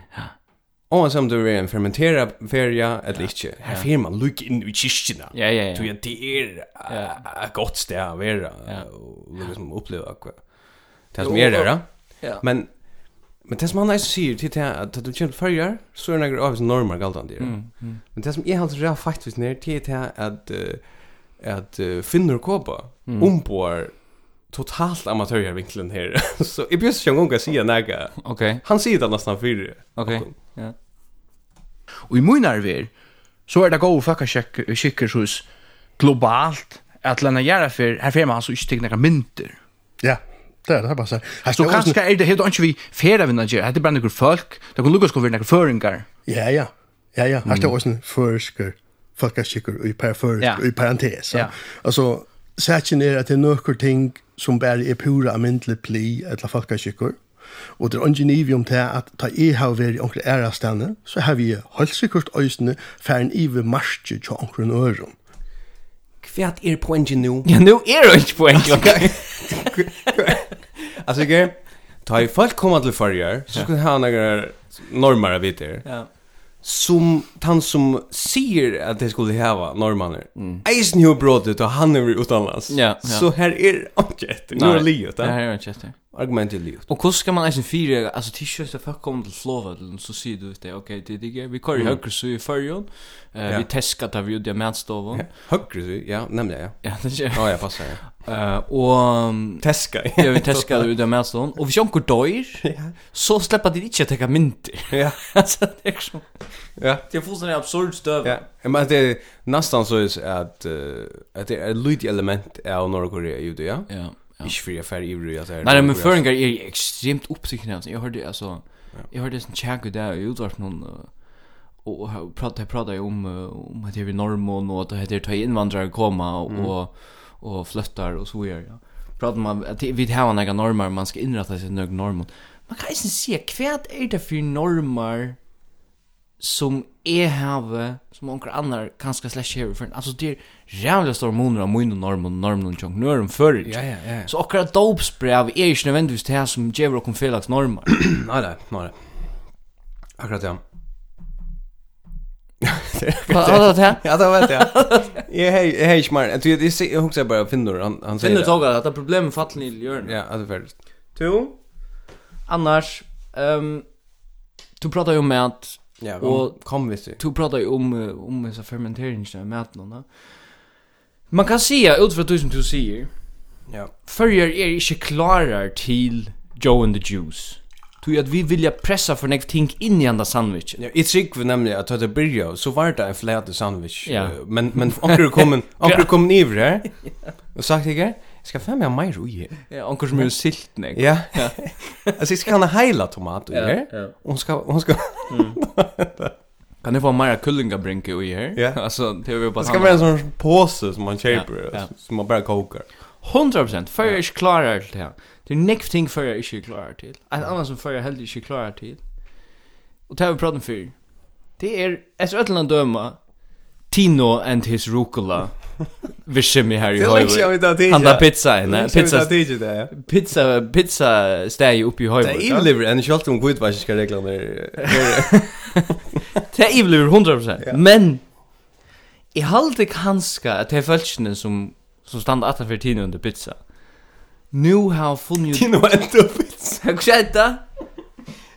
C: Og han samt over en fermentera feria eller ikke. Her fyrir man lukk inn i kyrkjena.
B: Ja, ja, ja.
C: Tog jeg det er eh, et godt sted å være. Og lukk som oppleva hva. Det som er der,
B: Ja.
C: Men Men det som han eisen sier til det at du kjent farger, så er det noen av hans normer galtan
B: Mm.
C: dyr. Men det som jeg halte rea faktisk ned til det er at eh, at uh, finner kåpa mm. omboar totalt amatørjervinklen her. så jeg bjøs ikke engang å si nega.
B: Ok,
C: Han sier det nesten fyrir.
B: ok. Ja.
F: Og i mun arver, så er det gode fakkaskikker hos globalt, at landa gjerne for, her fyrir man altså ikke til nekka mynter.
E: Ja, det er det bare å si. Her
F: Så
E: står også-
F: kanskje er det helt ikke vi fyrir vinna gjer, det er bare nekker folk, det kan lukkast kovir nekker føringar.
E: Ja, ja. Ja, ja. Her står også en førsker, folkeskikker i perførsk,
F: Mm. Ja.
E: ja. i parentes.
F: Ja.
E: Ja. Altså, sætjen er at det er noen ting som bare er pura amyntelig pli eller folkeskikker. Og det er ikke nivium til at ta jeg har vært i onkel ærestene, så har vi helt sikkert øyne færen ive marsje til onkelen øren.
C: Hva er poenget nå?
B: Ja, nu er det ikke poeng. Okay.
C: Altså ikke, ta i folk koma til farger, så skal han ha noen normer av viter.
B: Ja.
C: Som han som sier at det skulle heva normaner. Eisen jo brådet, og han er utanlands.
B: Mm. Ja, ja.
C: Så her er han ikke etter. Nå er det livet,
B: Det
C: da.
B: her er ikke etter.
C: Argumentet er livet.
B: Og hvordan skal man eisen fire, altså til kjøst at folk kommer til Flåvødlen, så sier du det, ok, det er ikke, vi kører i høyre så i førjon, eh, vi
C: Ja.
B: tesker at vi ut i medstoven.
C: Høgre, så- ja, nemlig, ja.
B: Ja, det er
C: Ja,
B: ikke.
C: ja, passar. ja.
B: Eh, Og um,
C: Teska.
B: ja, vi tesker at vi ut i medstoven, og hvis jonker døyr, så slipper de ikke å teka mynter.
C: Ja,
B: Altså, det er sånn.
C: ja.
B: Det er fullstendig absurd støv.
C: Ja, men det er nästan så är att eh, att det är lite element av Nordkorea ju det, ja.
B: Ja, ja.
C: Ikke för jag färg i det, alltså.
B: Nei, nei, men føringar er jeg ekstremt oppsikten av. Jeg hørte, altså, jeg hørte en tjekk ut der i utvart noen, uh, og her pratet, jeg pratet jo om, uh, om at jeg vil normen, og at det heter ta innvandrare koma, og,
C: Mm.
B: og, og flyttar, og så gjør, ja. Pratet man, at vi har noen normer, man skal innrette seg noen normer. Man kan ikke se, hva er det for normer som jeg har, som noen annar kanskje slash hever for. Altså, det er rævlig store måneder av mine normer, normer, normer, normer, normer,
C: Ja, ja, ja.
B: Så okkara dopsbrev er ikke nødvendigvis det her som gjør okkur felags normer.
C: Nej, nej, nej. Akkurat ja.
B: Hva er det her?
C: Ja, det vet jag. Jag hej hej smart. Att det är jag husar bara Finnor han han säger.
B: Finner
C: det.
B: tog at det er problemet fattelig i hjørnet.
C: Ja, alltså färdigt.
B: To, annars, um, du pratar jo om at,
C: Ja,
B: Og-
C: och kom vi se.
B: du pratar jo om, eh, om disse fermenteringsene med at noen. Man kan sige, ut fra du som du sier,
C: Ja.
B: Førjer er ikke klarar til Joe and the Juice. Tui at vi vilja pressa for nek ting inn i anda sandwichen.
C: Ja, i trick vi nämligen att det börjar så var det en flat sandwich.
B: Ja.
C: Eh, Men men onkel kommer onkel kommer över här. Och sagt jag, jag ska fan med mig ro i.
B: Ja, onkur som er jo silt nek.
C: Ja. Alltså jag ska ha hela tomat i här.
B: ja.
C: Hon ska hon ska
B: Kan det få mer kullingabrinke i her?
C: Ja.
B: Alltså, det är ju bara
C: det ska vara en sån påse som man köper
B: Ja, ja.
C: som man bara kokar.
B: 100% förr är inte klarar till det här. Det är näkt ting förr är inte klarar till. En annan som förr är heller inte klarar till. Och det här vi pratar om förr. Det er, är, efter ett land döma, Tino and his rucola. Vi skimmer här i Høyvig.
C: vet att det er
B: Han där pizza inne. Pizza,
C: det där. ja.
B: pizza, pizza stäger uppe i
C: Det er är
B: Høyvig.
C: ivliver en kjolt om kvittvasken ska regla ner.
B: Det er ivel 100%. Men jeg halde kanskje at det er følelsene som som standa atter for tiden under pizza. Nu har jeg funnet
C: Tino enda pizza.
B: Har du sett det?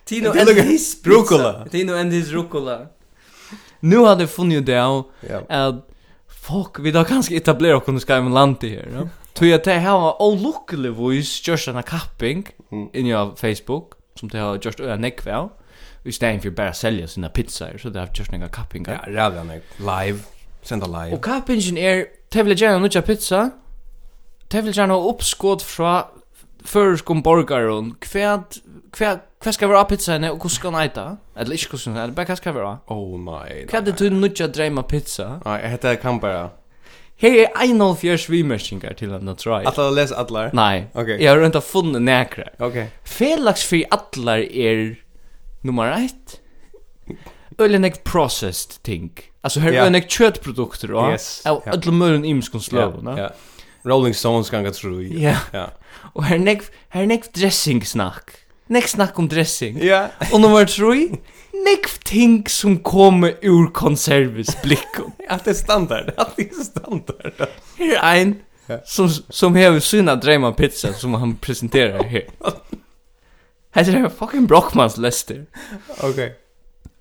B: Tino
C: Det er
B: and
C: lukka
B: his
C: rucola.
B: pizza. Tino and his rucola. Nu har det funnit ut det av
C: Ja.
B: at fuck, vi har kanskje etablerat oss skal i land til her. Ja? Tog at det her var olukkelig vois gjørst denne kapping inni av Facebook, som det har gjørst øya nekve av. I stedet for bare å selge sine pizzaer, så det har gjørst denne kappingar.
C: Ja, rævlig meg. Live. Senda live.
B: Og kappingen er, te vil gjerne nutja pizza, te vil gjerne ha oppskått fra føreskom borgaren, hva, hva, hva skal være av pizzaene, og hvordan skal han eita? Eller ikke hvordan, eller bare hva skal være av?
C: Oh my.
B: Hva er det du nutja dreima pizza?
C: Nei, hetta kan bara.
B: Her er 1,5 vimersingar til henne, tror jeg.
C: Alla les allar.
B: Nei,
C: Ok.
B: jeg har rundt av funnet nekra.
C: Okay.
B: Felags fyrir allar er nummer 1. Ölen ek processed ting. Altså her er
C: Ja.
B: yeah. ölen ek kjötprodukter og
C: Yes,
B: av
C: ja.
B: öllum mörun imskon slöv.
C: Ja. Rolling Stones ganga tru.
B: Ja.
C: Ja.
B: Og her nek, her er nek dressing snakk. Nek snakk om dressing.
C: Ja.
B: Og nummer 3, nek ting som kommer ur konservis blikkom.
C: Allt är standard. Allt är standard.
B: Her er ein som, som hever syna dreima pizza som han presenterer her. Hetta er fucking Brockmans lester.
C: Okej.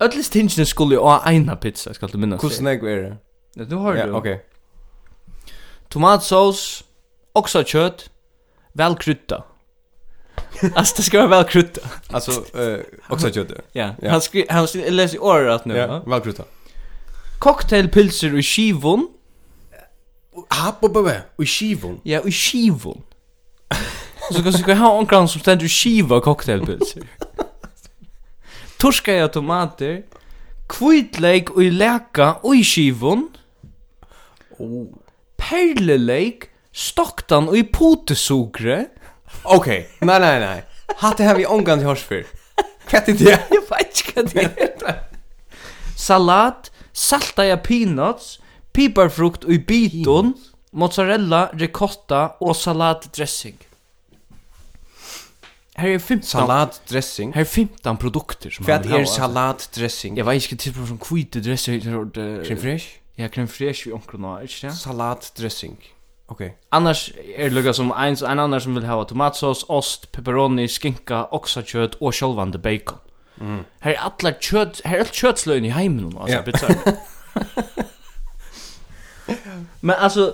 B: Öllis tingene skulle jo ha eina pizza, skal du minnas
C: Hur snägg är det?
B: Ja, Du har
C: er Ja,
B: det.
C: okej.
B: Tomatsås, också kött, väl krydda. Alltså det ska vara väl krydda.
C: Alltså eh också kött.
B: Ja.
C: Ja.
B: Han skri han skri jag läser i året nu.
C: Ja,
B: Ja.
C: välkruta.
B: Cocktailpilser i skivon.
C: Happ och bebe. Och skivon.
B: Ja, i skivon. Så kan ska ha en kran som ständer i skiva cocktailpilser. Torska jag tomater, kvitlek och i läka och i skivon.
C: Oh.
B: Perlelek, stoktan och i potesugre.
C: Okej. Nej nej nej. Hatt er det här vi ångan till hörs för. Katt inte det.
B: Jag vet inte vad det är. Salat, saltaja peanuts, piparfrukt i biton, mozzarella, ricotta och salatdressing. er Här är 15
C: Salatdressing.
B: Här är 15 produkter som
C: Vad
B: har,
C: är
B: alltså.
C: salatdressing?
B: Jag vet inte till som kvite dressing er
C: Creme fraiche?
B: Ja, creme fraiche vi onkel nå, ikke det?
C: Salatdressing. Okej.
B: Annars er det lukka som en, en annan som vil hava tomatsås, ost, pepperoni, skinka, oksakjøt og sjálvande bacon. Mm. Her er allar kjøt, her er alt kjøtsløgn i heimen nå, altså,
C: Ja.
B: yeah. pizza. Men altså,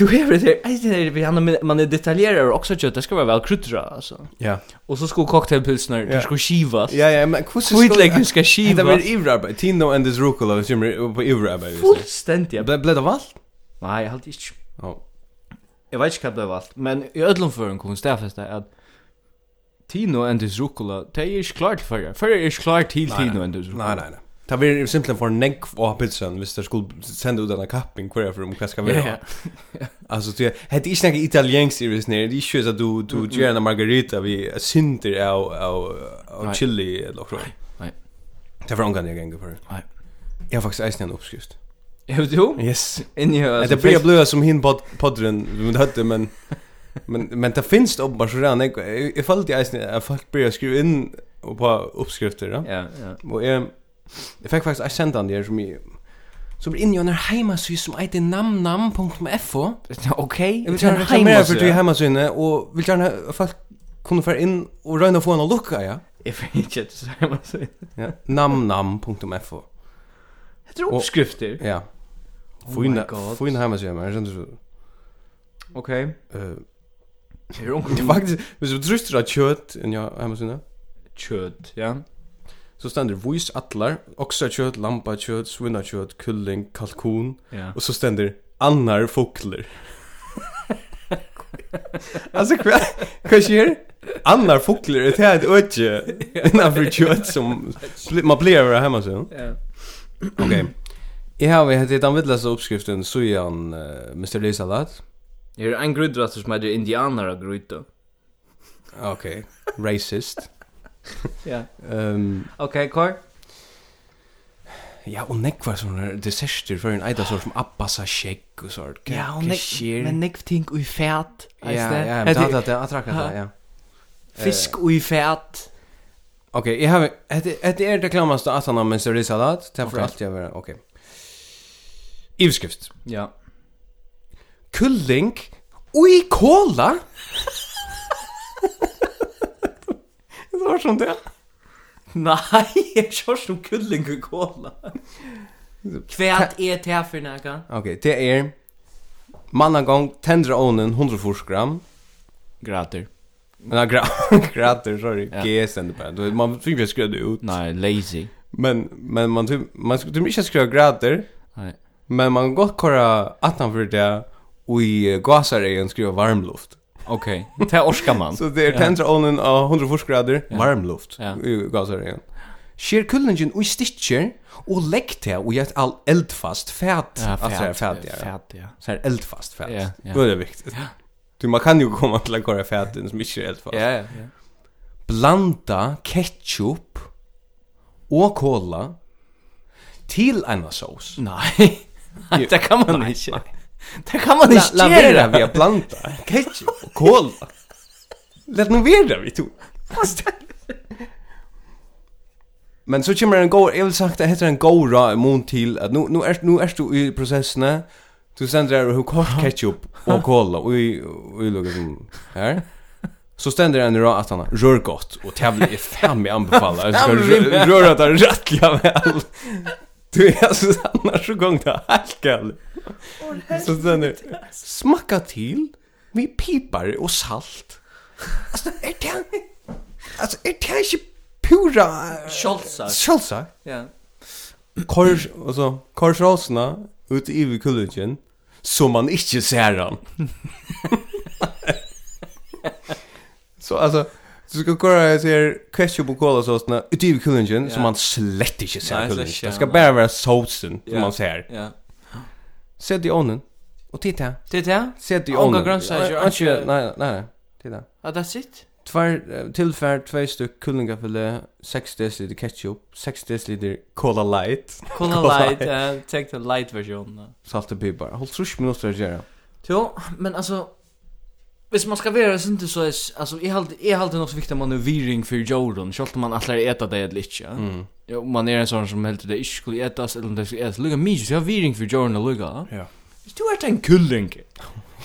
B: du hever det her, jeg vet ikke, man, man er detaljerer oksakjøt, det skal være vel krydra, altså.
C: Ja.
B: Og så skulle cocktailpilsner, yeah.
C: Ja.
B: det skulle skivas.
C: Ja ja, men hur
B: Kvitleken skal
C: Det var
B: skivas.
C: Ivrarbe, Tino and his Rucola som är på Ivrarbe.
B: Fullstendig.
C: Blev blev det valt?
B: Nei, jeg halte ikke.
C: Ja.
B: Jeg vet ikke hva det var alt, men i ødlom føren kom stedfeste at Tino Endis Rucola, det er ikke klar til førre. Førre er ikke klar til Tino Endis Rucola.
C: Nei, nei, nei. Ta vi simpelthen for negg og pizzaen hvis det skulle sende ut denne kappen hver for om hva um skal vi
B: Ja,
C: ha.
B: ja.
C: Altså, det er ikke noe italiensk i visst nere. Det er ikke så at du, du gjør en margarita vi synder av, av, av
B: Nei.
C: chili eller noe.
B: Nei.
C: Det er for omgang jeg ganger for.
B: Nei.
C: Jeg har faktisk eisen en oppskrift.
B: Er du?
C: Yes.
B: Inni høy,
C: Det blir bløa som hin pod podren vi må høtte, men men men det finns det bara så där. Jag jag följde eisen att folk börjar skriva in och på uppskrifter, ja.
B: Ja, ja.
C: Og jeg, jeg fikk faktisk en sendan der som jeg, som er inne i en heimasy som heter namnam.fo.
B: er Ok,
C: Jeg vil gjerne reklamere for det heimasynet, og vil gjerne at folk kunne fære inn og røyne å få en å lukka, ja.
B: Jeg vet ikke at det er masse.
C: ja. Namnam.fo.
B: Det er oppskrifter.
C: Ja.
B: Oh my
C: Fyna,
B: god.
C: fyna heimasy, men jeg kjenner så...
B: Ok.
C: eh,
B: Er
C: Det er
B: onkel
C: faktisk, hvis du tryster av kjøtt inn i heimasynet,
B: kjøt, ja.
C: så stender vois atlar, oksa kjøtt, lampa kjøtt, svinna kjøtt, kulling, kalkun,
B: Ja.
C: Och så ständer annar fokler. alltså kva kva sker? Annar fokler det er här är ett ötje. Innanför kjøtt som man blir över hemma sen.
B: Ja.
C: Okej. Jag har hett den vittlaste uppskriften så är han Mr. Lee Salat.
B: Er en gruddraster som heter indianara grudda.
C: Okej. Racist.
B: Ja.
C: Ehm
B: Ok, kvar?
C: ja, och neck var såna desserter för en ejda sort som Abbasa shake och sånt.
B: men nekv ting ui fæt.
C: er Ja, ja, men det hade det attraktivt, ja.
B: Fisk ui fæt.
C: Okej, jag har ett är det klamaste att han har med sig salat. Det är för allt jag vill. Okej. Ivskrift.
B: Ja.
C: Kulling i kola. Det var sånt där.
B: Nei, er um jeg kjørs som kulling og kåla. Kvært er det her for nægge?
C: Okej, det är mannagång tendra onen 100 gram.
B: Grater.
C: Men gra gratter, sorry.
B: Ja.
C: G ständer på. Du vet, Man fick ju skrädda ut.
B: Nei, lazy.
C: Men men man typ man skulle typ inte skriva grader,
B: Nei.
C: men man kan gott köra att han för det och i gasaregen skriva varmluft.
B: Ok, det orskar man.
C: Så det är tendra onen av 140 grader varmluft
B: Ja.
C: i gasaregen. Skär kullingen och stitcher och lägg det och ett all eldfast fett.
B: Ja,
C: Alltså
B: fett,
C: fett, ja.
B: fett, er ja.
C: Så här eldfast fett.
B: Ja, ja.
C: Det är viktigt. Du man kan ju komma till att köra fäten som inte är eldfast.
B: Ja, ja, ja.
C: blanda ketchup og kola til eina saus.
B: Nei, Nei, det kan man ikke. Det kan man
C: La,
B: ikke
C: la vera
B: gjøre.
C: vi a blanda ketchup og kola. Let nu vera vi to. Men så kommer en god, jeg vil sagt, det heter en god ra imon til, at nu, nu, er, nu er du i prosessene, du stender her og har kort ketchup og kola, og i, og i lukket som her, så stender en ra at han har rør godt, og tævlig er fem i anbefaler, jeg skal rø- røra det rettelig vel. Du er altså annars så gong det er helt galt. Så stender, smakka til, vi pipar og salt. Altså, er det, altså, er det ikke pura
B: Kjolsak.
C: Sjálvsa.
B: Ja.
C: Kors, altså, kors rosna ut i kulutjen, så man ikke ser han. så altså, du skal kora jeg sier ketchup og cola såsna ut i kulutjen, så
B: Ja.
C: man slett ikke ser
B: Nei, slett
C: kulutjen.
B: ikke,
C: Det skal
B: nei.
C: bare være såsen som
B: Ja.
C: man ser.
B: Ja.
C: Sett i ånden, og titt her.
B: Det er det?
C: Sett i
B: Ongar
C: ånden.
B: grønnsaker,
C: Ja, ikke-
B: ikke-
C: Nei, nei, nei. Titt her.
B: Ja, Ah, that's it.
C: Tvær eh, tilfær, tvei stykk kullingafille, 6 dl ketchup, 6 dl cola light.
B: Kola light, eh, take the light version. ja.
C: salt og pipar. Hold trusk minutter å gjøre.
B: Jo, men alltså Hvis man ska vara sånt så er är alltså är halt är halt nog så viktigt att man är viring för Jordan, så att man att äta det eller inte. Ja? er
C: Mm.
B: Jo, man är en sån som helt det inte skulle ätas eller om det skulle ätas. Lugga mig, så jag har viring för Jordan och lugga.
C: Ja.
B: Du är en kulling.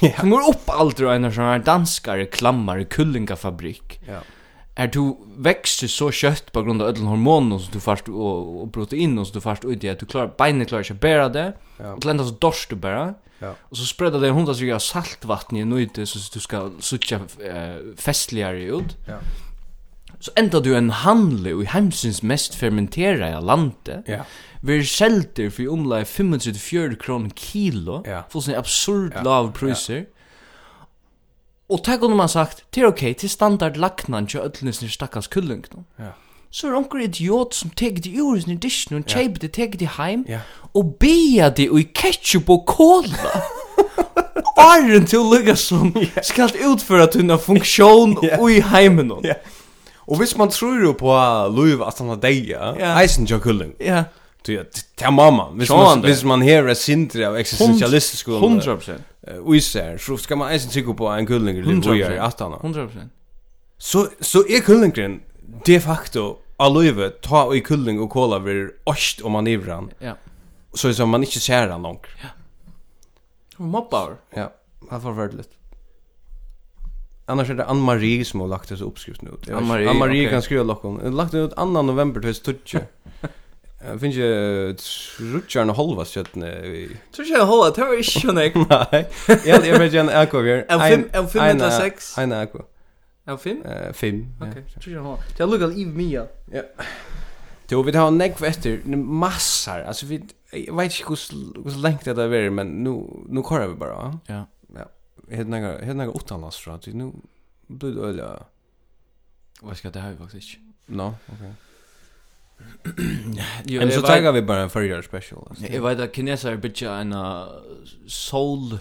C: Ja.
B: Som går upp allt och en sån här danskare klammar kullingafabrik.
C: Ja.
B: Är du växer så kött på grund av ödlen hormoner som du fast och, och protein och som du fast ut i att du klarar benen klarar sig bära det.
C: Ja.
B: Och glända så dorst du bara.
C: Ja.
B: Och så spreadar det hundra sig av saltvatten i nöjde så att du ska sucha eh, festligare ut.
C: Ja.
B: Så enda du en handle i hemsins mest fermenterade landet.
C: Ja.
B: Vi sälter för omlai 540 kronor kilo.
C: Ja.
B: Fullständigt absurd
C: Ja.
B: lav priser. Och tack om man sagt, er det är okej, det är standard lacknan till ödlnisner stackars kullung.
C: Ja.
B: Så är det onker er idiot som tar det ur sin disken och tjejper det, tar det hem
C: Ja.
B: og bea det i ketchup og cola. Arren til Lugasson skal utføre tunna funksjon
C: Ja.
B: i heimen.
C: Ja. Og hvis man tror jo på Louis at han har deg,
B: Ja.
C: eisen til kullen.
B: Ja,
C: Det er mamma. Hvis
B: Sjåan
C: man,
B: det.
C: hvis man her er sindre av eksistensialistisk skole
B: 100%.
C: og iser, så er, skal man eisen tykke på en kullen eller hvor gjør
B: 100%.
C: at han har.
B: 100%.
C: Så, så er kullengren de facto av Louis ta i kulling og kola vir ost og manivran,
B: Ja.
C: så er det som man ikke ser han langt.
B: Mobbar.
C: Ja, det var forferdelig. Annars er det Ann-Marie som har lagt disse oppskriften ut. Jeg vet ikke.
B: Ann-Marie,
C: Ann-Marie
B: ok.
C: kan skrive lokken. Jeg har lagt den ut 2. november 2020. Jeg finner ikke trutjern og halva kjøttene i...
B: Tror ikke jeg holder, det var ikke sånn jeg.
C: Nei, jeg har ikke en AK vi gjør.
B: Er fem- er fem eller seks?
C: En AK.
B: Ja, fem?
C: er Eh, Fem. ja.
B: Ok, tror ikke jeg holder. Det er lukket i mia.
C: Jo, vi tar nekv etter massar. Altså, vi... Jeg vet ikke hvordan lengt det er, men nu, nu kører vi bare, va?
B: Ja.
C: Ja. Hedna går hedna går utanlands fra, så nu blir det øyla...
B: Vad ska det här faktiskt inte?
C: No, okay.
B: Jo,
C: Men så
B: jag vet-
C: tar vi bara en förra special. Alltså.
B: Jag vet att kineser är bitcha en sol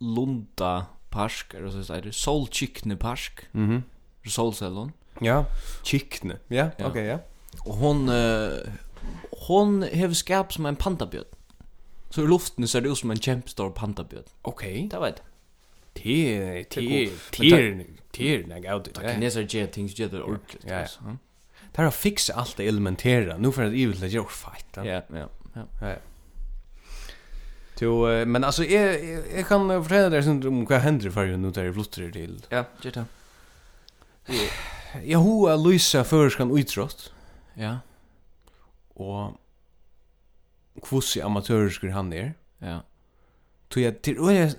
B: lunda er parsk, eller så säger det, sol chickne parsk,
C: Mhm.
B: solcellon.
C: Ja. Chickne. Ja,
B: Ja.
C: okej, ja.
B: Och hon eh, hon har skap som en pandabjörn. Så i luften ser det ut som en jättestor pandabjörn.
C: Okej.
B: Det vet.
C: Te
B: te- er
C: te te te när jag er-
B: jag. Kineser ger ting ger det ordentligt.
C: Ja, ja.
B: alltså.
C: Det har fixa allt det elementära. Nu för att evil det gör oh, fight. Ja.
B: Ja, ja. ja.
C: Ja. Jo, eh, men alltså jag jag kan eh, fortälla dig sånt om vad händer för nu där flutter till.
B: Ja, gjør det.
C: Jag hoa Luisa förskan utrott
B: Ja,
C: och kvossi amatörisker han er. är.
B: ja.
C: Tog jag till och jag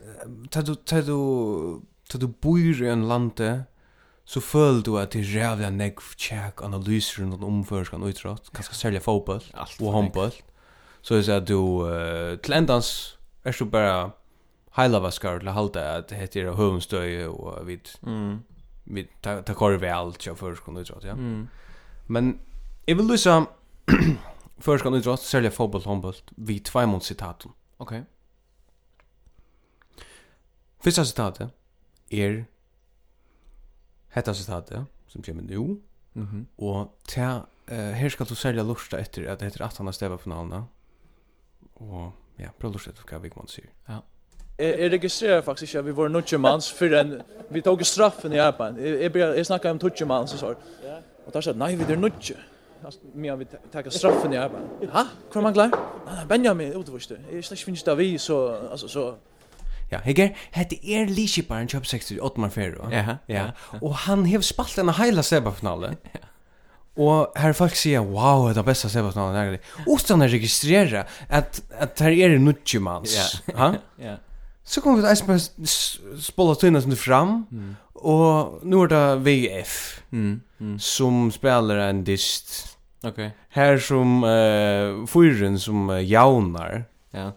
C: tar du tar du tar du bor i en lande så føler du at det er rævlig negv tjekk analyser rundt om omførskan utrått, kanskje særlig fotboll
B: Alt for
C: og håndboll. Så jeg sier at du, eh, til endans, er så bare heilavaskar til å halda at det heter høvnstøy og vi,
B: Mm.
C: vi tar ta kvar vel til førskan utrått, ja.
B: Mm.
C: Men jeg vil lysa førskan utrått, særlig fotboll og håndboll, vi tveimund sitatum.
B: Okej.
C: Fyrsta sitatet er hetta sitatet som kemur nú
B: Mhm.
C: og ta uh, her skal du selja lusta etter at er det heter at han har steva på navna og ja, prøv lusta etter hva Vigman sier
D: Jag, jag registrerar faktiskt inte att vi var nutchemans förrän vi tog straffen i Japan. Jag, jag, började, jag snackade om tutchemans och så. Och där sa jag, nej vi är nutche. Alltså, medan vi tar straffen i Japan. Ha? Kvar man klar? Nej, nej, "Ah, Benjamin utvursste. Jag slags finns det vi så, alltså så.
C: Ja, Heger, hette er Lichiparen Chop 60 Ottmar Ferro.
B: Ja,
C: ja. Og han hev spalt en heila sebafinale. Og her folk sier, wow, det er besta sebafinalen her. Utan å registrere at, at her er nutjumans.
B: Ja.
C: Ha?
B: Ja.
C: Så kom vi til Eisberg spola tøyna som er fram, og nå er det VF,
B: Mm. Mm.
C: som spiller en dist.
B: Okej.
C: Her som uh, fyren som uh, jaunar,
B: Ja.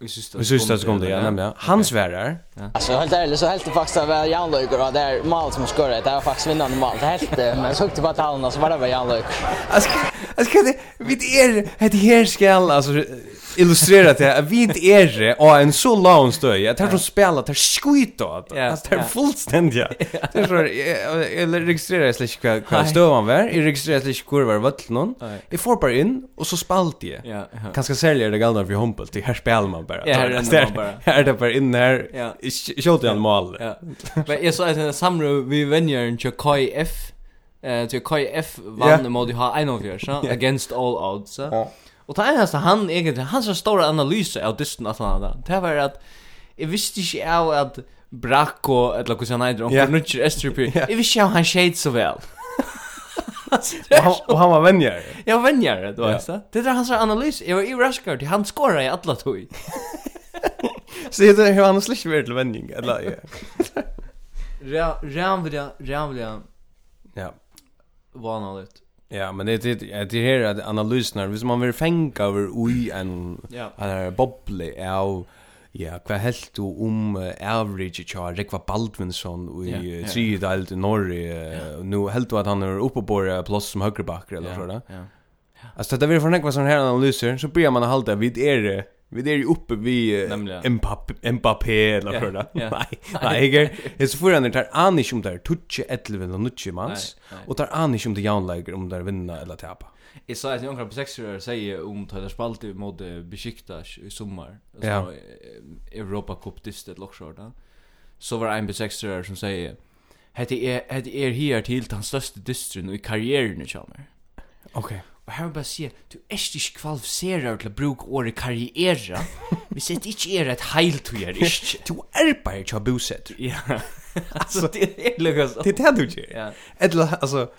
B: Vi syns
C: vi syns det sekundet, ja, nemlig, ja. han sverar,
G: Alltså helt ärligt så helt det faktiskt att det var Jan Löjker och det är mål som skorade. Det var faktiskt vinnande mål. Det helt det. Men så åkte jag på talen och så var det bara Jan Löjker.
C: Alltså alltså kan det vid er det här skall alltså illustrera det att vid er och en så lång stöj att här som spelar där skit åt
B: Ja,
C: alltså det är
B: ja.
C: fullständiga det är så eh, eller registrerar jag släck kvar kvar stöv han var jag registrerar släck kvar var vart någon
B: Nej.
C: jag får bara in och så spalt jag
B: Ja. ja.
C: Kanske säljer det galna för hompel till här spelar man bara.
B: Ja, här
C: Alltså,
B: ränner man bara.
C: Här är det bara in här.
B: Ja.
C: Skjuter han mål.
B: Ja. Men jag sa att den samru vi vänjer till Kai F. Eh till Kai F
C: Ja.
B: vann mot ha en av er, så against all odds. Ja. Och ta enaste han egentligen er han så stora analys av dysten att han hade. Det var att jag visste inte av att Bracco eller hur han heter om
C: Ja.
B: för nutcher STP.
C: Ja.
B: Jag visste inte om han shade så väl.
C: Och han, och han var vänjer.
B: Jag vänjer det då
C: Ja.
B: alltså. Det där hans analys. Jag var i Rashgard. Han skorar i alla tog.
C: Så det är han släck väl till vänjning eller ja.
B: Rämliga, rämliga
C: Ja.
B: vanligt.
C: Ja, men det er- det det det här att analyserna, er, hvis man vill fänga över ui en
B: Ja.
C: en bobble av ja, vad helt du om uh, average char Rekva Baldvinsson i
B: Ja,
C: yeah,
B: ja.
C: tre i Norge. Uh, nu helt du att han är uppe på det plats som högerbacker eller så där.
B: Ja.
C: Alltså det vill förnäkva sån här analyser så börjar man hålla vid er Vi är ju uppe vi
B: Nämligen.
C: Mbappé, Mbappé eller
B: Ja,
C: för det.
B: ja.
C: Nej, nej, jag är så för han tar an inte om det är touche 11 eller nutche mans
B: Nej, nej.
C: och tar an inte om det jaunläger om det är vinna eller tappa.
B: Jag sa att jag på sex år säger om Tyler Spalti mot eh, Besiktas i sommar. Alltså
C: Ja.
B: eh, Europa Cup distet lockshort. Så var det en på sex år som säger Hette er, hette er her til den største dystren i karrieren i Chalmer.
C: Okej.
B: Og her vil jeg bare si, du er ikke kvalifiserer til å bruke året karriere, hvis det ikke er et heiltøyer, ikke?
C: Du är bara jag bosätt.
B: Ja. alltså det er är lugnt.
C: Det är det du gör.
B: Ja.
C: Eller alltså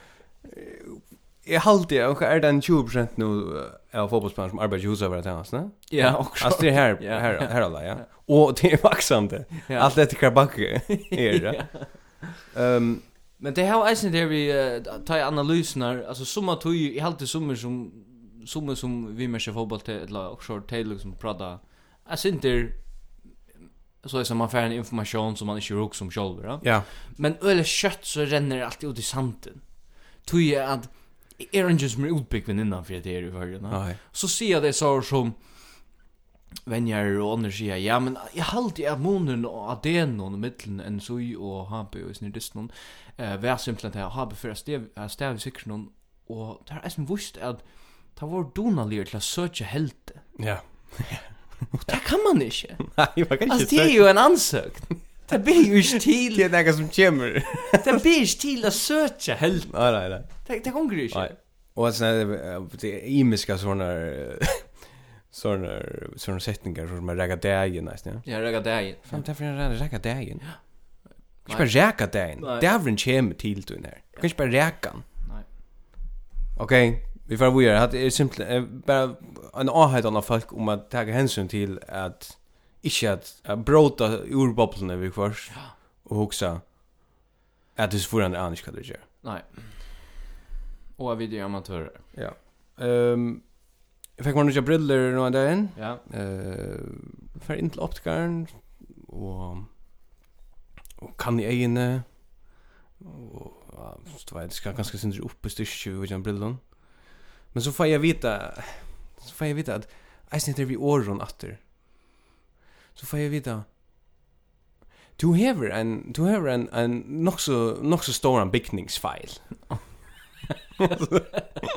C: Jag halter jag kanske är er den 20 nu eh, av fotbollsspelare som arbetar hos över det här, va?
B: Ja, också.
C: Alltså det er är här,
B: Ja.
C: här, här alla, ja. Och det är vaxande.
B: Ja.
C: Allt efter krabacker är er, det. Ehm,
B: Men det har eisen där vi eh, tar i analyserna, alltså summa tog ju i allt summor som summor som vi med sig fotboll till eller också till liksom prata. Alltså inte så är som man får en information som man inte rok som själv, va?
C: ja.
B: Men öle kött så ränner det alltid ut i sanden. er Tog ju att är det inte er som är utbyggd innanför det här i förrjuna.
C: Nej.
B: Så ser jag det så som Venjar og andre sier, ja, men jeg halte jeg månen og adenon og middelen enn sui og habe og snirdisten eh, vær simpelthen til habe for jeg stev i sikkernon og det er eisen vust at det var donalir til å søke helte
C: Ja.
B: og det kan man ikke
C: Nej, vad kan
B: altså det er jo en ansøkt det blir jo ikke til
C: Det är något er som kommer.
B: det blir ikke til å søke helte
C: Nej, nej, nej.
B: det, det gonger jo ikke
C: Nej. Och sen eh, det er är imiska såna såna såna setningar som er man räcker dagen nästan.
B: Ja, rega deg.
C: Fan, det är för en räcker dagen. Kan inte bara räcker dagen.
B: Nej.
C: Det är en kem till du när. Kan inte bara räcka.
B: Nej.
C: Okej, vi får vidare. Hat är simpelt er eh, bara en åhet av um folk om att ta hänsyn till att inte att att bråta ur bubblorna vi först och huxa att det är svårare än annars kan det göra.
B: Nei. Og vi er amatører.
C: Ja. Ehm jag fick man några briller någon dag in.
B: Ja.
C: Eh för in till optikaren och och kan i egna och ja, så vet jag ska ganska syns upp i stycke och den brillen. Men så får jag vita så får jag vita att jag sitter vid åren åter. Så får jag vita Du hever en du hever en en nog så nog så stor en bikningsfile.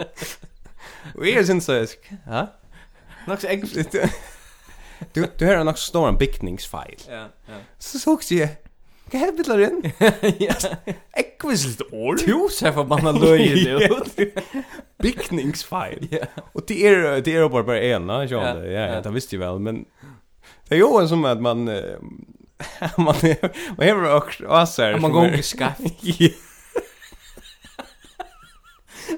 C: Och är syns så Ja. Nog så enkelt. Du du har nog så stor en bikningsfile.
B: Ja, ja.
C: Så såg jag. Kan jag bitla den? Ekvisligt år.
B: Du ser forbanna løye du.
C: Bikningsfile.
B: Ja.
C: Och det är det är bara bara ena, jag
B: Ja,
C: det. Ja,
B: ja.
C: ja, det visste jag väl, men det är ju en som att man eh, man er, man har också asar.
B: Man gonger skaft.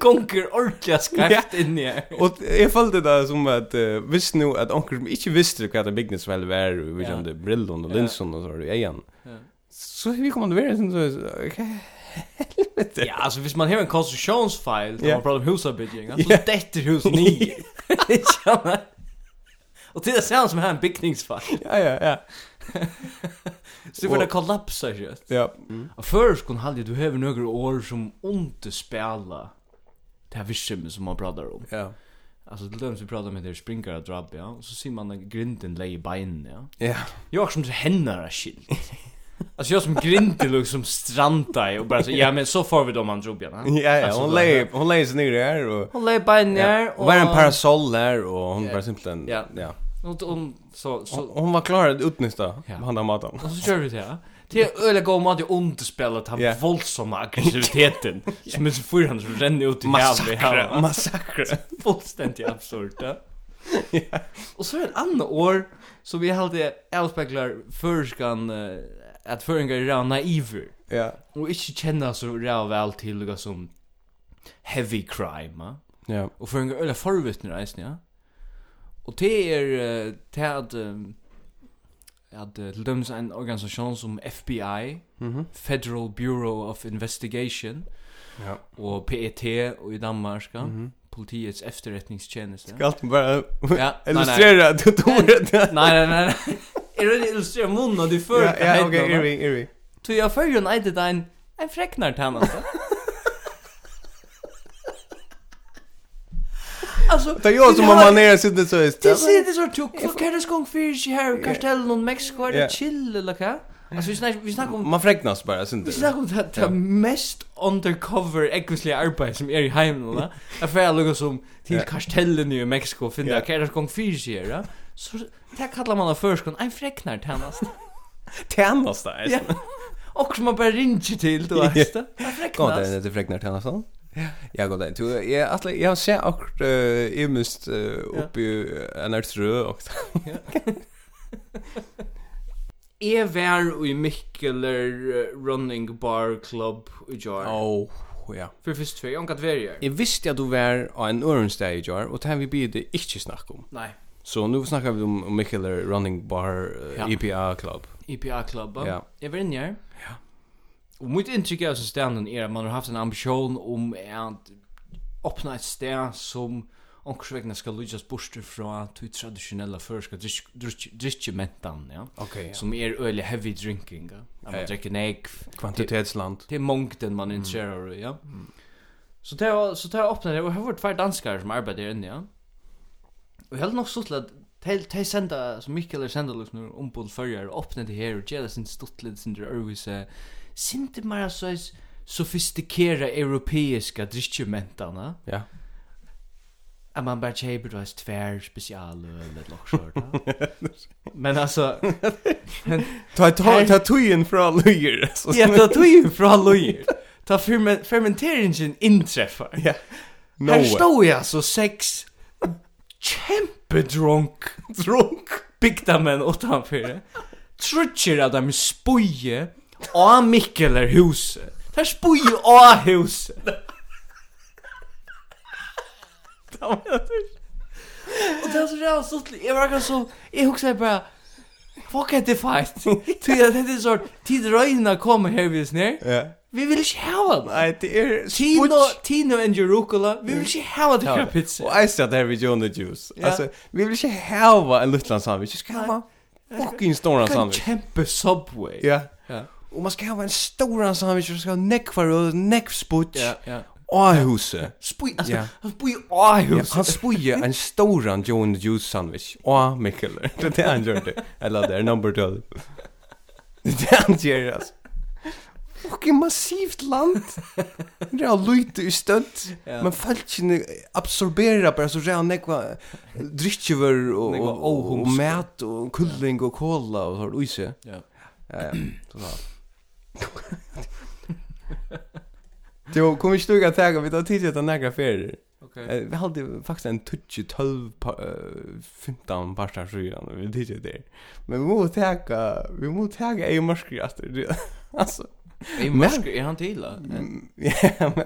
B: Gonger ordentlig skaft er. inni her.
C: Och jag följde det som att uh, visst nu att onkel som inte visste vad det bigness väl var vi
B: Ja.
C: ja. kände brillon och
B: Ja.
C: linson och så där igen.
B: Ja.
C: Så vi kom ändå vidare sen så okej.
B: Ja, altså hvis man har en konstruksjonsfeil, da
C: Ja.
B: man prater om husarbygging, så
C: Ja.
B: detter huset nye. Skjønner? Og til det ser han som har en bygningsfeil.
C: Ja ja ja.
B: Så får det kollapsa kjøtt.
C: Ja.
B: Og før skulle han du har noen år som underspela det her visshemmet som man prater om.
C: Ja.
B: Alltså till dem vi pratar med det sprinkare drabb, ja. Och så ser man att grinden lägger i benen, ja.
C: Ja.
B: Jag har som det händer är skilt. Alltså jag som grinden liksom strandar i och bara så, ja men så får vi dem han drog, ja.
C: Ja ja,
B: Alltså,
C: hon
B: då-
C: lägger hon lägger sig ner där och
B: Hon lägger i benen ner
C: och var en parasoll där och hon bara simpelt
B: Ja.
C: ja. ja.
B: Och, och, och så, så,
C: Hon, hon var klar att utnyttja
B: Ja.
C: han där maten.
B: och så kör vi det, ja. Det är öliga god mat i underspelet, han
C: Ja.
B: våldsamma aggressiviteten. Som är så fyran som ränner ut i havet.
C: Massakra, massakra.
B: fullständigt absurd, ja. Och så är det ett annat år som vi hade avspeglar förskan uh, att föringar är rätt naiver
C: Ja.
B: och inte känna så rätt väl till något som heavy crime, ja.
C: Ja.
B: Och föringar är förvittnare, eisen, ja. Och det är eh, det är att um, att eh, till döms en organisation som FBI,
C: Mhm.
B: Federal Bureau of Investigation E
C: Ja.
B: och PET och i Danmark, ja.
C: Mhm.
B: Politiets efterrättningstjänst. Ja.
C: Galt bara
B: Ja, nej, nej.
C: illustrera att du tog det.
B: Nej, nej, nej. Är det illustrerar munnen du för?
C: Ja, ja okej, är vi, är vi.
B: Så jag följer en ätit en en fräcknar tannan. Alltså,
C: Det är jag som
B: har-
C: har manerat sitt så just.
B: Det ser det så tjock. Vad kan det skång för sig här i Castellon och Mexiko? Är
C: Ja.
B: det chill eller vad? Alltså vi snackar vi snackar om
C: Man fräknas bara
B: Vi
C: synd.
B: snackar om det, det
C: Ja.
B: um mest undercover äckosliga arbetet som är i heimen, va? Jag får lukka som till
C: Ja.
B: kastellen i Mexiko och finna er
C: Ja.
B: yeah. kärlek gång fyrs här, ja? Så det kallar man av förskon, en fräcknar tjänast.
C: Tjänas där.
B: Ja. Och som man bara ringer till, du vet.
C: Ja. er
B: En
C: God dag,
B: fräcknar.
C: det är Fregnar Tjänasson. Ja, god dag. Du, jag, Atle, jag har sett akkurat uh, imust uh, upp i en ärtrö och
B: Jag var i Mikkeler eh, Running Bar Club i Jar.
C: Åh, ja.
B: För först två, jag har inte varit här.
C: Jag visste att du var av en örnsteg i jar, och det här vi blir det inte snakka um. om.
B: Nej,
C: Så nu snackar vi om Mikkeler um er Running Bar eh,
B: Ja.
C: IPA Club.
B: IPA Club.
C: Ja.
B: Jag var inne här. Ja. Och mitt er intryck av sin ställen är att man har haft um en ambition om att öppna ett ställe som omkring ska lyckas bort från de traditionella förska dryckmentan, ja.
C: Okej,
B: Som är öliga heavy drinking, ja. Att
C: Ja,
B: man
C: ja.
B: dricker nek,
C: Kvantitetsland.
B: det är mångden
C: Mm.
B: man är intresserad av, ja. Så det har så det har öppnat det och har varit två danskar som arbetar där inne, ja. Och helt nog så till att till till sända så er mycket eller sända liksom nu om på förra och öppna det här och göra sin stortlid sin Örvis inte mer så is sofistikerade europeiska dryckmentarna.
C: Ja.
B: Att man bara tjejer då är tvär special eller lockshort. Men alltså
C: Ta ta ta tujen från lyger.
B: Ja, ta tog ju fra lojer. Ta fermen fermenteringen intreffar.
C: Ja. No
B: Här
C: way.
B: stod jag så sex kämpe drunk drunk bigda män utanför. Trutcher att de spoje av Mikkel är huset. Där spoje av huset. Ta mig att- Och det är så jävla stort. Jag var ganska så jag huxar bara Fuck er at the fight. Ty at det er så tid røyna kommer her vis nær.
C: Ja.
B: Vi vil ikke hava det.
C: Nei, det er
B: Tino, Tino and Jerukala, vi vil ikke hava det her pizza.
C: Og jeg ser det her ved Jonah Juice.
B: Ja.
C: Altså, vi vil ikke hava en luttland sandwich. Vi skal hava fucking stor
B: Kan
C: sandwich.
B: kjempe Subway.
C: Ja.
B: Ja.
C: Og man skal hava en stor sandwich, og man skal hava nekvar og nekvsputj.
B: Ja, ja.
C: Og huset.
B: Spui, altså,
C: Ja.
B: han spui Aarhus.
C: Ja, han spuje en stor John Juice sandwich. Og Mikkel. Det er det han gjør det. Eller det er number 12. Det er det han gjør, altså. Fucking massivt land. Det er lite i støtt.
B: Ja.
C: Men folkene absorberer bare så rævn nekva drikkjøver og,
B: Nekva
C: og, og, og
B: óhugskap.
C: mat og kulling og kola og sånn uise.
B: Ja.
C: Ja, ja. Så da. Jo, kom ikke du ikke at tega, vi tar tid til at han negra ferier.
B: Okay.
C: Eh, Vi hade faktiskt en touch i 12 pa- eh, 15 parter så grann vi tyckte det. Men vi måste täcka vi måste täcka i mörker att det alltså
B: I mörker er han til, da.
C: mm, ja men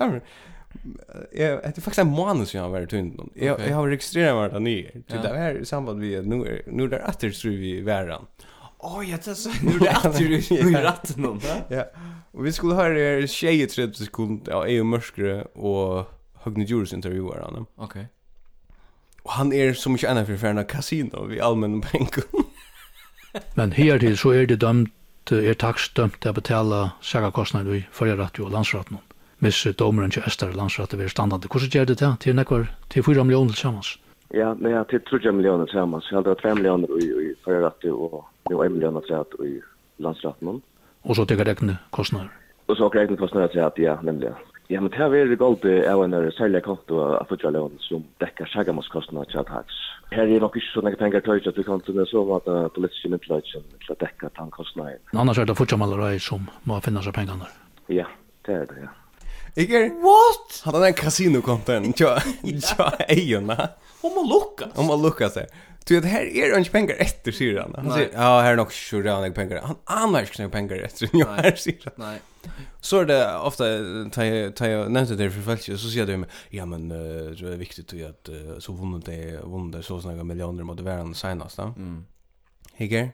C: jag det är faktiskt en månad sedan jag var tunt. Jag
B: Okej.
C: jag har registrerat vart han är. Det
B: Ja.
C: där är i samband vi är nu är- nu är där åter tror vi värran.
B: Åh, jeg tar så. Nu er det at du nu er det at noen, da.
C: Ja. Och vi skulle höra er tjejer 30 sekunder av EU mörker och Högne Djurs intervjuar han.
B: Ok.
C: Och han är som inte annan förfärna kasino vid allmänna pengar.
H: Men her til så er det dømt, er takstdømt til å betale sækakostnader i førjerrett og eh, landsretten. Hvis domeren til Øster landsrettet vil standande. Hvordan gjør det til? Til nekvar, til 4 millioner til sammen.
I: Ja, er men jag till 3 miljoner tillsammans. Jag hade 5 miljoner i, i förra rätten och nu 1 miljon tillsammans i landsrätten.
H: Og så tenker jeg regne kostnader.
I: Och så åker jag på snöret till att ja, nämligen. Ja, men det här är det gott av en särlig konto av förtra lån som däckar sägamåskostnader till att hax. Här är nog inte så mycket pengar till att vi kan inte så att uh, politiska myndigheter till att däcka tankostnader.
H: Men annars er det fortsatt malerei som må finne seg pengene.
I: Ja, det är det, ja.
C: Ikke er... What? Hadde han en kasinokonten tja, tja eiona.
B: Hon må lukka.
C: Om man lukka seg. Du vet, her er ikke penger etter, sier han. Han sier, ja, her er nok ikke rann jeg penger. Han aner ikke noen penger etter, jo, her sier han.
B: Nei.
C: Så er det ofte, ta jeg ta jeg nevnte det for feltet, så sier de meg, ja, men eh, det er viktig til at eh, så vunnet det, vunnet det, så snakka millioner måtte være han senast, da.
B: Mm.
C: Ikke er?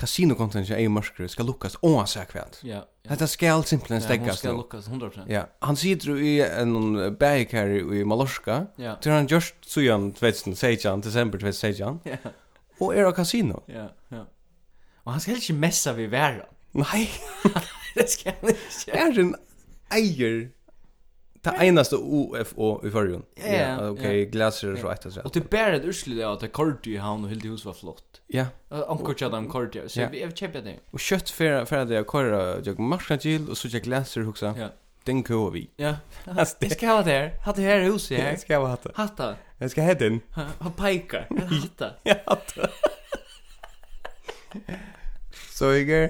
C: Kasinokonten tja eion mørkere skal lukkas, oansett hva.
B: Ja. ja.
C: Dette skal simpelthen
B: Ja, Hon
C: steggas
B: skal
C: nå.
B: lukkas 100%.
C: Ja, han sitter jo i en bækare i Mallorca.
B: Ja.
C: Det har han gjort siden 2016, desember 2016.
B: Ja.
C: Og er av kasino.
B: Ja. Ja. Og han skal ikke messa vi verra.
C: Nei,
B: Det skal han ikke.
C: er en eier. Det eneste OFO i förrjun.
B: Ja, ja,
C: ok,
B: ja.
C: glaser så etter seg.
B: Og til bæra et urslit av at det kordi i havn og hildi hus var flott.
C: Ja,
B: Anker tjadda om kordi, så
C: Ja.
B: jeg vil kjempe det.
C: og kjøtt fyrir fyrir det jeg kører jeg marskagil, og så jeg glaser huksa.
B: Ja.
C: Den kører vi.
B: Ja.
C: Altså,
B: Jeg skal hava det her. Hatt det her huset
C: Jeg
B: her.
C: skal ha hatt det.
B: Hatt det.
C: Jeg skal ha den.
B: Han peikar. Hatt det.
C: Jeg har hatt det. Så jeg er...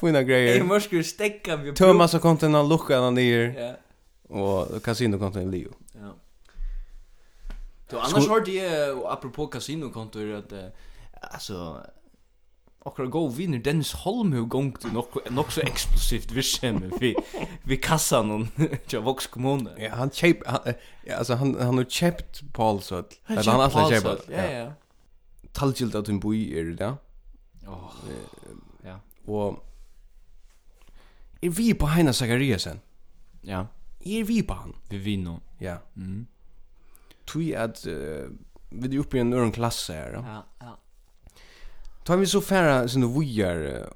C: Fina greier.
B: Jeg må skulle stekka vi
C: Tömma så konten han luckan han ner
B: Ja.
C: och kasino konten Leo.
B: Ja. Du annars har det eh, apropå kasinokontor att eh, alltså Okra go vinner Dennis Holm hur gångt nog nog så explosivt vi känner vi vi kassan och jag vox kommun.
C: Ja, han chep han, eh, ja, alltså han han har chept Paul så att han har alltså chepat.
B: Ja ja.
C: Talgilt att en boi är det där.
B: Åh.
C: Eh,
B: Ja.
C: Och är vi på Heina Zachariasen? er
B: Ja,
C: Är vi på han?
B: vi vinner.
C: Ja.
B: Mm.
C: Tui att uh, vi är uppe i en annan klass här. Ja.
B: Ja, ja.
C: Tar vi så färra såna vojar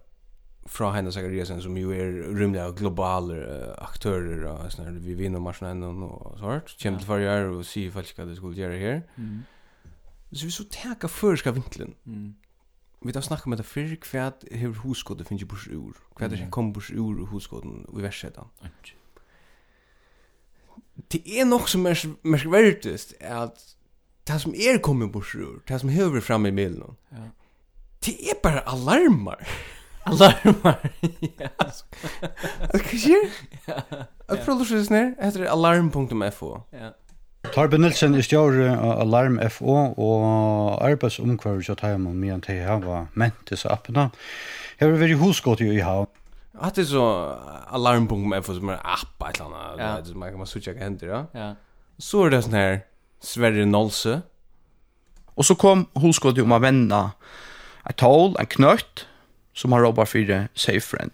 C: från Heina eh, Zachariasen som ju är rymliga globala eh, aktörer och såna här, vi vinner matchen ändå och så vart. Kämt
B: Ja.
C: för jag och se ifall ska det skulle göra här.
B: Mm.
C: Så vi så täcka förska vinklen.
B: Mm.
C: Vi tar snacka med det för kvärt hur huskottet finns ju bors ur. Kvärt det
B: Mm.
C: er kom bors ur huskotten i värsetan. Det er är nog som mest mest värtest är att det som är kommer bors ur, det er som höver fram i mailen.
B: Ja.
C: Det är bara alarmer.
B: Alarmar. Ja.
C: Hva skjer? Jeg prøver å skjønne ned. Etter alarm.fo.
B: Ja.
J: Torben Nilsen er stjåre av Alarm FO og arbeidsomkvarver til Taiman med at de har ment disse appene. Jeg vil være hosgått i havn.
C: Hatt det så alarm.fo som er app et eller annet.
B: Ja.
C: Det er- Man kan bare suttje hva hender, ja.
B: Ja.
C: Så er det sånn her Sverre Nolse.
F: Og så kom um hoskåttet om å vende et tål, en knøtt, som har råpet for Safe Friend.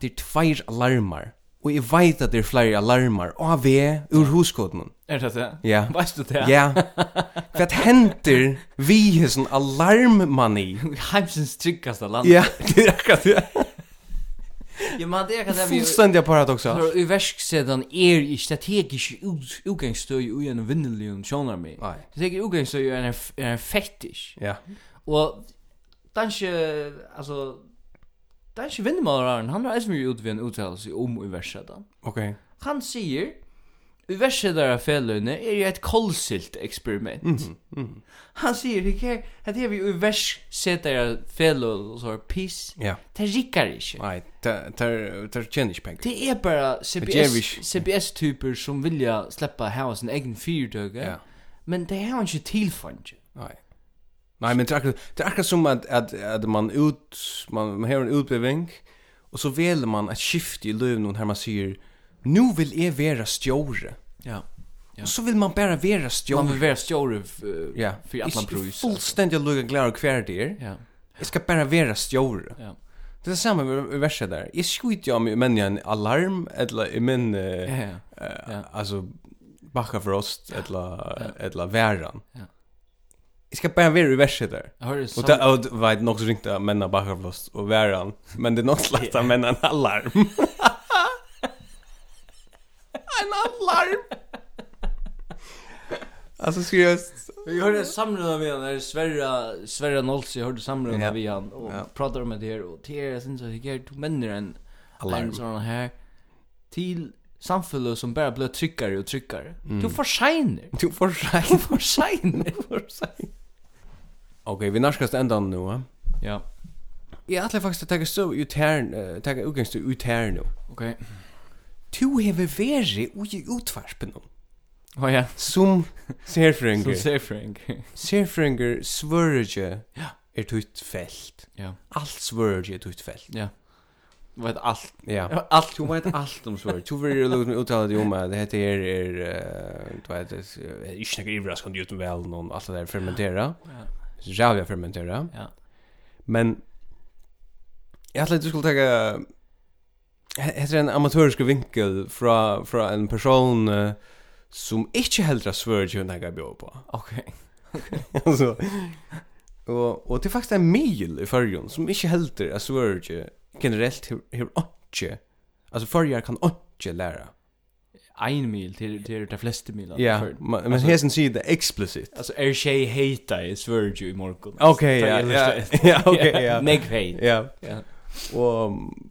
C: Det er tveir alarmar. Og jeg vet at det er flere alarmar. Av V, ur huskoden.
B: Er det det?
C: Ja.
B: Veist du det?
C: Ja. Hva hender vi hesen alarmmani?
B: er Heimsens tryggaste land.
C: Ja, det er akkurat det.
B: Ja, men det kan det er vi...
C: Fullstendig paradoxalt.
B: För i verksedan är i er strategisk ut- utgångsstöj och en vinnelion tjonar mig.
C: Nei.
B: Det är utgångsstöj är en, är en fetish.
C: Ja.
B: Och danske, alltså, danske er vinnemalaren, han har SMU ut vid en uttalelse om i verksedan.
C: Ok.
B: Han säger, i verksedan fällöjne är ju ett er kolsilt experiment.
C: Mhm,
B: Han säger, det här, det här vi i verksedan fällöjne, så här, piss,
C: Ja.
B: det er rikkar inte.
C: Nei, det er tjenis penger.
B: Det er bara
C: ger
B: CBS
C: vi ikke.
B: CBS typer som vilja sleppa hava sin egen fyrtøk.
C: Ja.
B: Men det har ikkje tilfang.
C: Nei. Nei, men det er akkurat, det er akkurat som at, at, at man ut, man, man har en utbeving, og så velger man et skifte i løven her man sier, nå vil jeg være stjåre.
B: Ja.
C: Og så vil man bare være
B: Man
C: stjåre.
B: vil vera stjóri eh,
C: Ja.
B: fyrir allan
C: Jeg er
B: brús.
C: fullstendig lukket glad og hver det er.
B: Ja.
C: Jeg skal bare være stjåre.
B: Ja.
C: Det er det samme med verset der. Jeg skjuter jo om jeg mener en alarm, eller jeg mener...
B: Ja. ja.
C: Eh, alltså backa för oss eller eller väran.
B: Ja.
C: Jag ska bara vara i verset där.
B: Jeg hører
C: Och
B: sam-
C: det och vet nog så ringta männa backa för oss och väran, men det är något slags att männa en alarm. en alarm. Alltså seriöst.
B: Jeg hører samrunda vi han, er Sverra, Sverra Nolsi, jeg hører samrunda
C: Ja.
B: vi han, og
C: Ja.
B: pratar om det her, og det er sin så sikkert, du menner en, en
C: Alarm.
B: sånn her, til samfunnet som bare blir tryggare og tryggare.
C: Mm.
B: Du forsegner.
C: Du får sig.
B: Du forsegner.
C: Okej, vi närskast ända nu. va?
B: Ja,
C: Jag hade faktiskt tagit så ut här, tagit utgångst ut här nu.
B: ok.
C: Du har varit i utvarspen nu.
B: Å ja, som
C: Som serfrönger.
B: ser Frank.
C: Serfringer svörje er tutt fält.
B: Ja,
C: Allt svörje er tutt fält.
B: ja. Vet allt.
C: Ja.
B: Allt
C: Du vet allt om svörje. Du vill ju lukta uttala dig om att det heter er, er eh, du vet, det är inte några överraskande utan väl någon, allt det där fermentera. Rävja fermentera.
B: Ja.
C: Men jag hade att du skulle ta heter en amatörisk vinkel fra, fra en person eh, som inte heldra svörje när jag bjöd på.
B: Okej.
C: Alltså och och det är faktiskt en mil i förrjon som inte helter alltså värge generellt hur hur inte alltså förrjar kan inte lära.
B: Ein mil till till de flesta mil.
C: Ja, ma- men här sen det explicit.
B: Alltså är tjej hejta i Sverige i morgon.
C: Okej,
B: Så
C: ja.
B: det
C: Ja,
B: är-
C: ja, okej, ja.
B: Meg hejt.
C: Ja.
B: Ja.
C: Och um,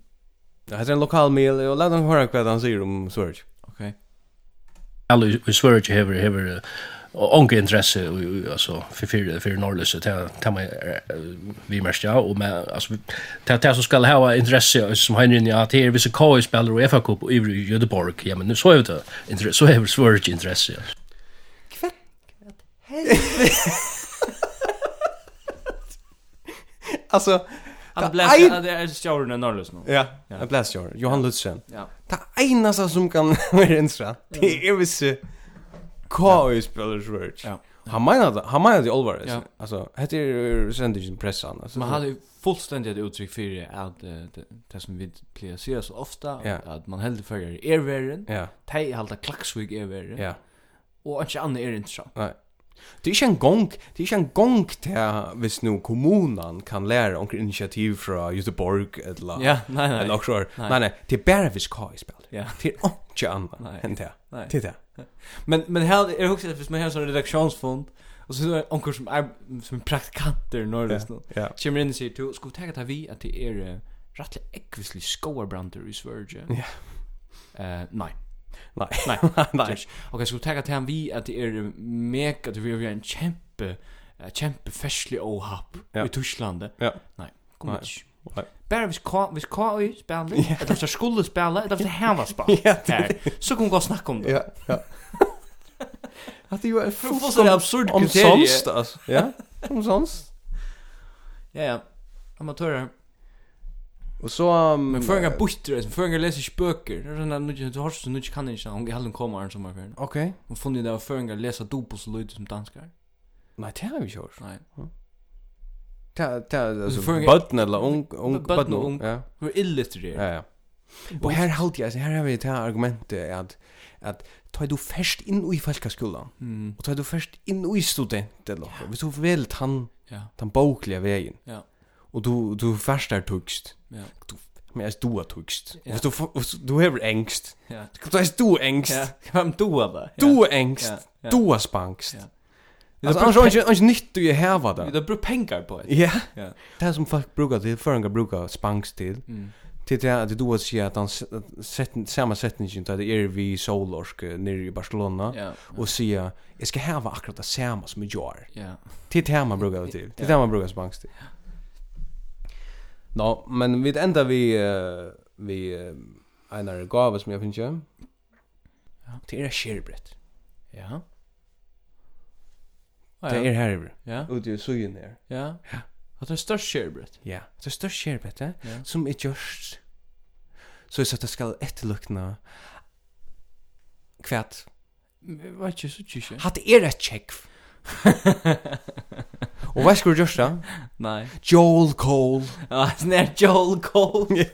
C: det heter en lokal mil och låt dem höra vad han säger om Sverige.
B: Okej.
J: Alle i Sverige hever, hever uh, onke interesse og- og- altså för för för norrlösa till till mig eh, vi mest ja och med alltså till till som ska ha intresse eh, som har inne att här vissa KI spelare och FA Cup och er i Göteborg ja men nu så er är det intresse så er är Sverige intresse ja.
C: Alltså
B: Han
C: det
B: bläser
C: ein-
B: att det är stjärnorna norrlös nu.
C: Ja, jag bläser Johan Lutzen.
B: Ja.
C: Det enaste som kan vara intressant, det är vissa KU-spelare Sverige.
B: Ja.
C: Han menar det, han menar det allvar.
B: Ja.
C: Ja. Alltså, det är sändigt en pressan. Alltså,
B: Man hade ju fullständigt ett uttryck för det att eh, det, det som vi blir ser så ofta
C: Ja.
B: att man hellre följer ervärden,
C: Ja,
B: tej halta klaxvig ervärden
C: ja. er
B: och inte annat är intressant.
C: Det är inte en gång, det är inte en gång till hvis nu kommunen kan lära om initiativ från Göteborg eller
B: Ja, nej nej.
C: eller också.
B: Nej.
C: Nej. nej, det er är bara vis KU-spel.
B: Ja.
C: Det er är inte annat
B: Nej.
C: än det.
B: Nej.
C: Det är det.
B: Men men er här är det också att man har en sån redaktionsfond och så är det onkel som är som är praktikanter norrlöst nu.
C: Ja.
B: Kommer in och säger till, ska vi ta det vi att det är uh, rättliga äckvislig skoarbranter i Sverige?
C: Ja.
B: Eh, nej.
C: Nej.
B: Nej.
C: Nej.
B: Okej, ska vi ta det vi att det är eh, mega, det är en kämpe, eh, kämpe färslig ohapp
C: Ja.
B: i Tyskland.
C: Ja.
B: Nej, kom
C: Nej.
B: inte. Bara hvis K, hvis K i spela, eller hvis jeg skulle spela, eller hvis jeg hava spela, her, så kan vi gå og snakke om um det.
C: Ja, ja. Att det er ju är
B: For å få sånne er absurd kriterier.
C: alltså. Ja. Som sånst.
B: Ja, ja. Amatører.
C: Och så um,
B: Men føringar butter, føringar leser ikke bøker. Det er sånn at nu- du har så nu kan ikke, hun helden kommer en sommerferien.
C: Okej.
B: Hun funnet det av føringar leser dopos og lyd som danskar.
C: Nej, det har vi kört.
B: Nei.
C: Hm? Ta ta alltså
B: För-
C: button er, eller ung ung
B: Button och
C: button.
B: ung.
C: Ja.
B: Hun er illitterer.
C: Ja, ja. Og her halde jeg, her har vi det her argumentet at, at tar du først inn i folkeskolen,
B: Mm.
C: og tar du først inn i student, eller noe, hvis du vel tan,
B: Ja.
C: tan boklige veien,
B: Ja.
C: og du, du først er tugst,
B: Ja.
C: du, men jeg du er tugst,
B: Ja.
C: og hvis du, f- hvis du hever engst,
B: Ja.
C: du er du engst,
B: Ja. Hvem du er det?
C: du
B: er.
C: er engst,
B: Ja, ja.
C: du er spangst.
B: Ja.
C: Altså, annars er det ikke- ikke nytt du er heva da.
B: Vi har brukt penger på det.
C: Ja.
B: Ja.
C: Det som folk brukar til, føringar brukar spangst til,
B: Mm.
C: til det at du har sier at han sett samme setningen til at det er vi i Solorsk eh, nere i Barcelona
B: Ja.
C: og sier jeg skal hava akkurat det samme som jeg gjør
B: Ja.
C: til det man brukar det til til det man brukar spangst til Nå, men vi enda vi eh, vi eh, einar gave som jeg finner ikke det er skjerbrett
B: Ja.
C: det er her
B: Ja.
C: ute i er. sugen her
B: Ja. Og det er størst skjerbrett.
C: Ja, det er størst skjerbrett
B: Ja.
C: som er gjørst så jeg sier at det skal etterlukna kvært Mm,
B: Jeg vet ikke, så ikke.
C: Hatt er et tjekk. Og hva skulle du gjøre da?
B: Nei.
C: Joel Cole.
B: Ja, sånn er Joel Cole.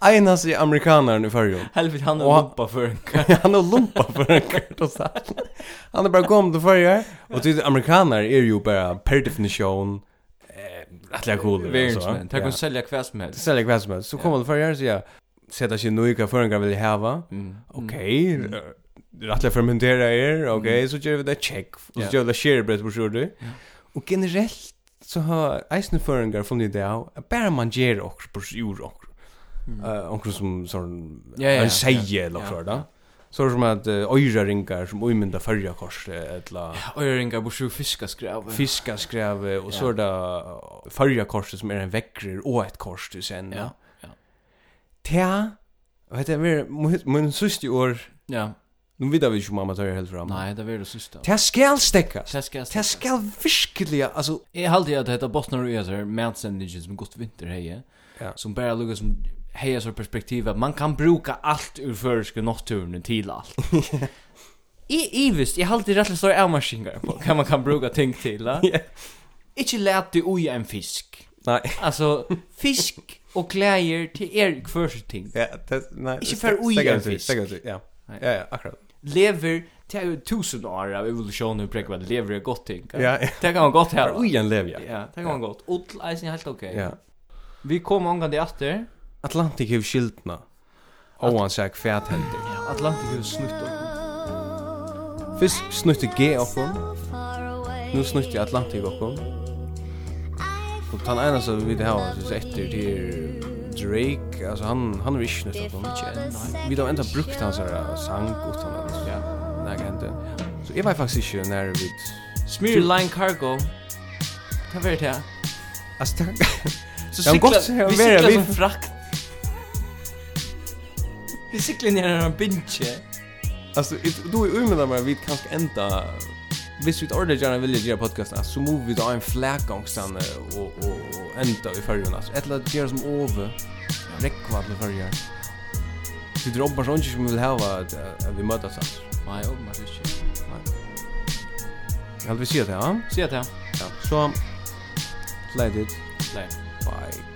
C: Einas i amerikaneren i fargen.
B: Helvete, han er
C: Og han-
B: oppa for en
C: Han er lumpa for en kart og sånn. Han er bare kommet til fargen. Og til amerikaner er jo bare per definisjon eh, atlega cool.
B: Verdensmenn. Det kan
C: Det
B: selja hva som helst.
C: selger hva som helst. Så kommer han er. til fargen og sier, seta ikke noe hva fargen vil hava.
B: Mm. Mm.
C: Ok, eh, rattla fermentera er, ok, så gjør vi det check, og så
B: Ja.
C: gjør vi det skjerbrett på sjordu. Og generelt så har eisne føringar funnet det av, at bare man gjør okkur på sjord okkur,
B: Mm.
C: Eh, okkur som sånn,
B: Ja, ja, ja.
C: en seie eller
B: Ja,
C: okkur da. Så er det som at uh, øyraringar som uimynda fyrja korset, etla
B: Øyringar bor sju fiskaskrev.
C: fiskaskrevet, og så er det fyrja korset som er en vekkrer og et kors du sen.
B: Ja.
C: Tja, vet du, min- min siste år,
B: Ja.
C: nu vet vi ikke om amatører helt fram.
B: Nei, det er det sista.
C: Det skal stekkas.
B: Det skal
C: Det skal virkelig, altså,
B: Jeg halde at dette botnar og øyser matsendingen som godt vinter heie,
C: Ja.
B: som bare lukka som heie så perspektiv at man kan bruka alt ur føreske notturne til alt. I ivist, jeg halde rett og slett avmarskingar på hva man kan bruka ting til. da.
C: Ja.
B: Ikke let du ui en fisk.
C: nei.
B: Altså, fisk og klæger til er kvørse ting.
C: Ja, det, nei.
B: Ikke fer ui en fisk.
C: Stekkas, ja.
B: Nei.
C: Ja, ja, akkurat.
B: Lever, det er jo tusen år av evolusjonen og prekker at lever er godt ting.
C: Ja, ja.
B: Det kan man godt
C: Fer
B: hava.
C: ui en lev, ja.
B: Ja, det kan man godt. Ull eisen er helt ok.
C: Ja.
B: Vi kom omgang til atter.
C: Atlantik hev skildna. Ovan seg fæt heldig.
B: Atlantik hus snutt opp.
C: Fyrst snutte G oppom, nu
A: Nú
C: snutte Atlantik oppom. Og tan ena som vi det hava, synes etter, det er Drake, altså han, han er ikke snutte oppom, ikke enn. Vi har enda brukt hans her sang utan at, ja, nei, hende. Så jeg var faktisk ikke nær vid,
B: Smear line cargo. Kan være det.
C: altså, takk.
B: Så
C: Ja, men
B: sikla,
C: godt, ja,
B: vi
C: vera,
B: sikla
C: vi-
B: som frakt. Vi sikla ned en bintje.
C: Alltså it- då är umedla med vi kanske ända Hvis vi ordentligt gärna vill göra podcasten alltså, så måste vi ta en fläkångstan och, och, och ända i färgen alltså. Ett eller göra som over Räckvad med färger Vi drobbar sånt som vi vill ha att, eh, att vi mötas alltså.
B: Nei, åpenbart ikke.
C: Jag vill säga det, ja?
B: Se det.
C: Ja. Så, play it.
B: Play.
C: Bye.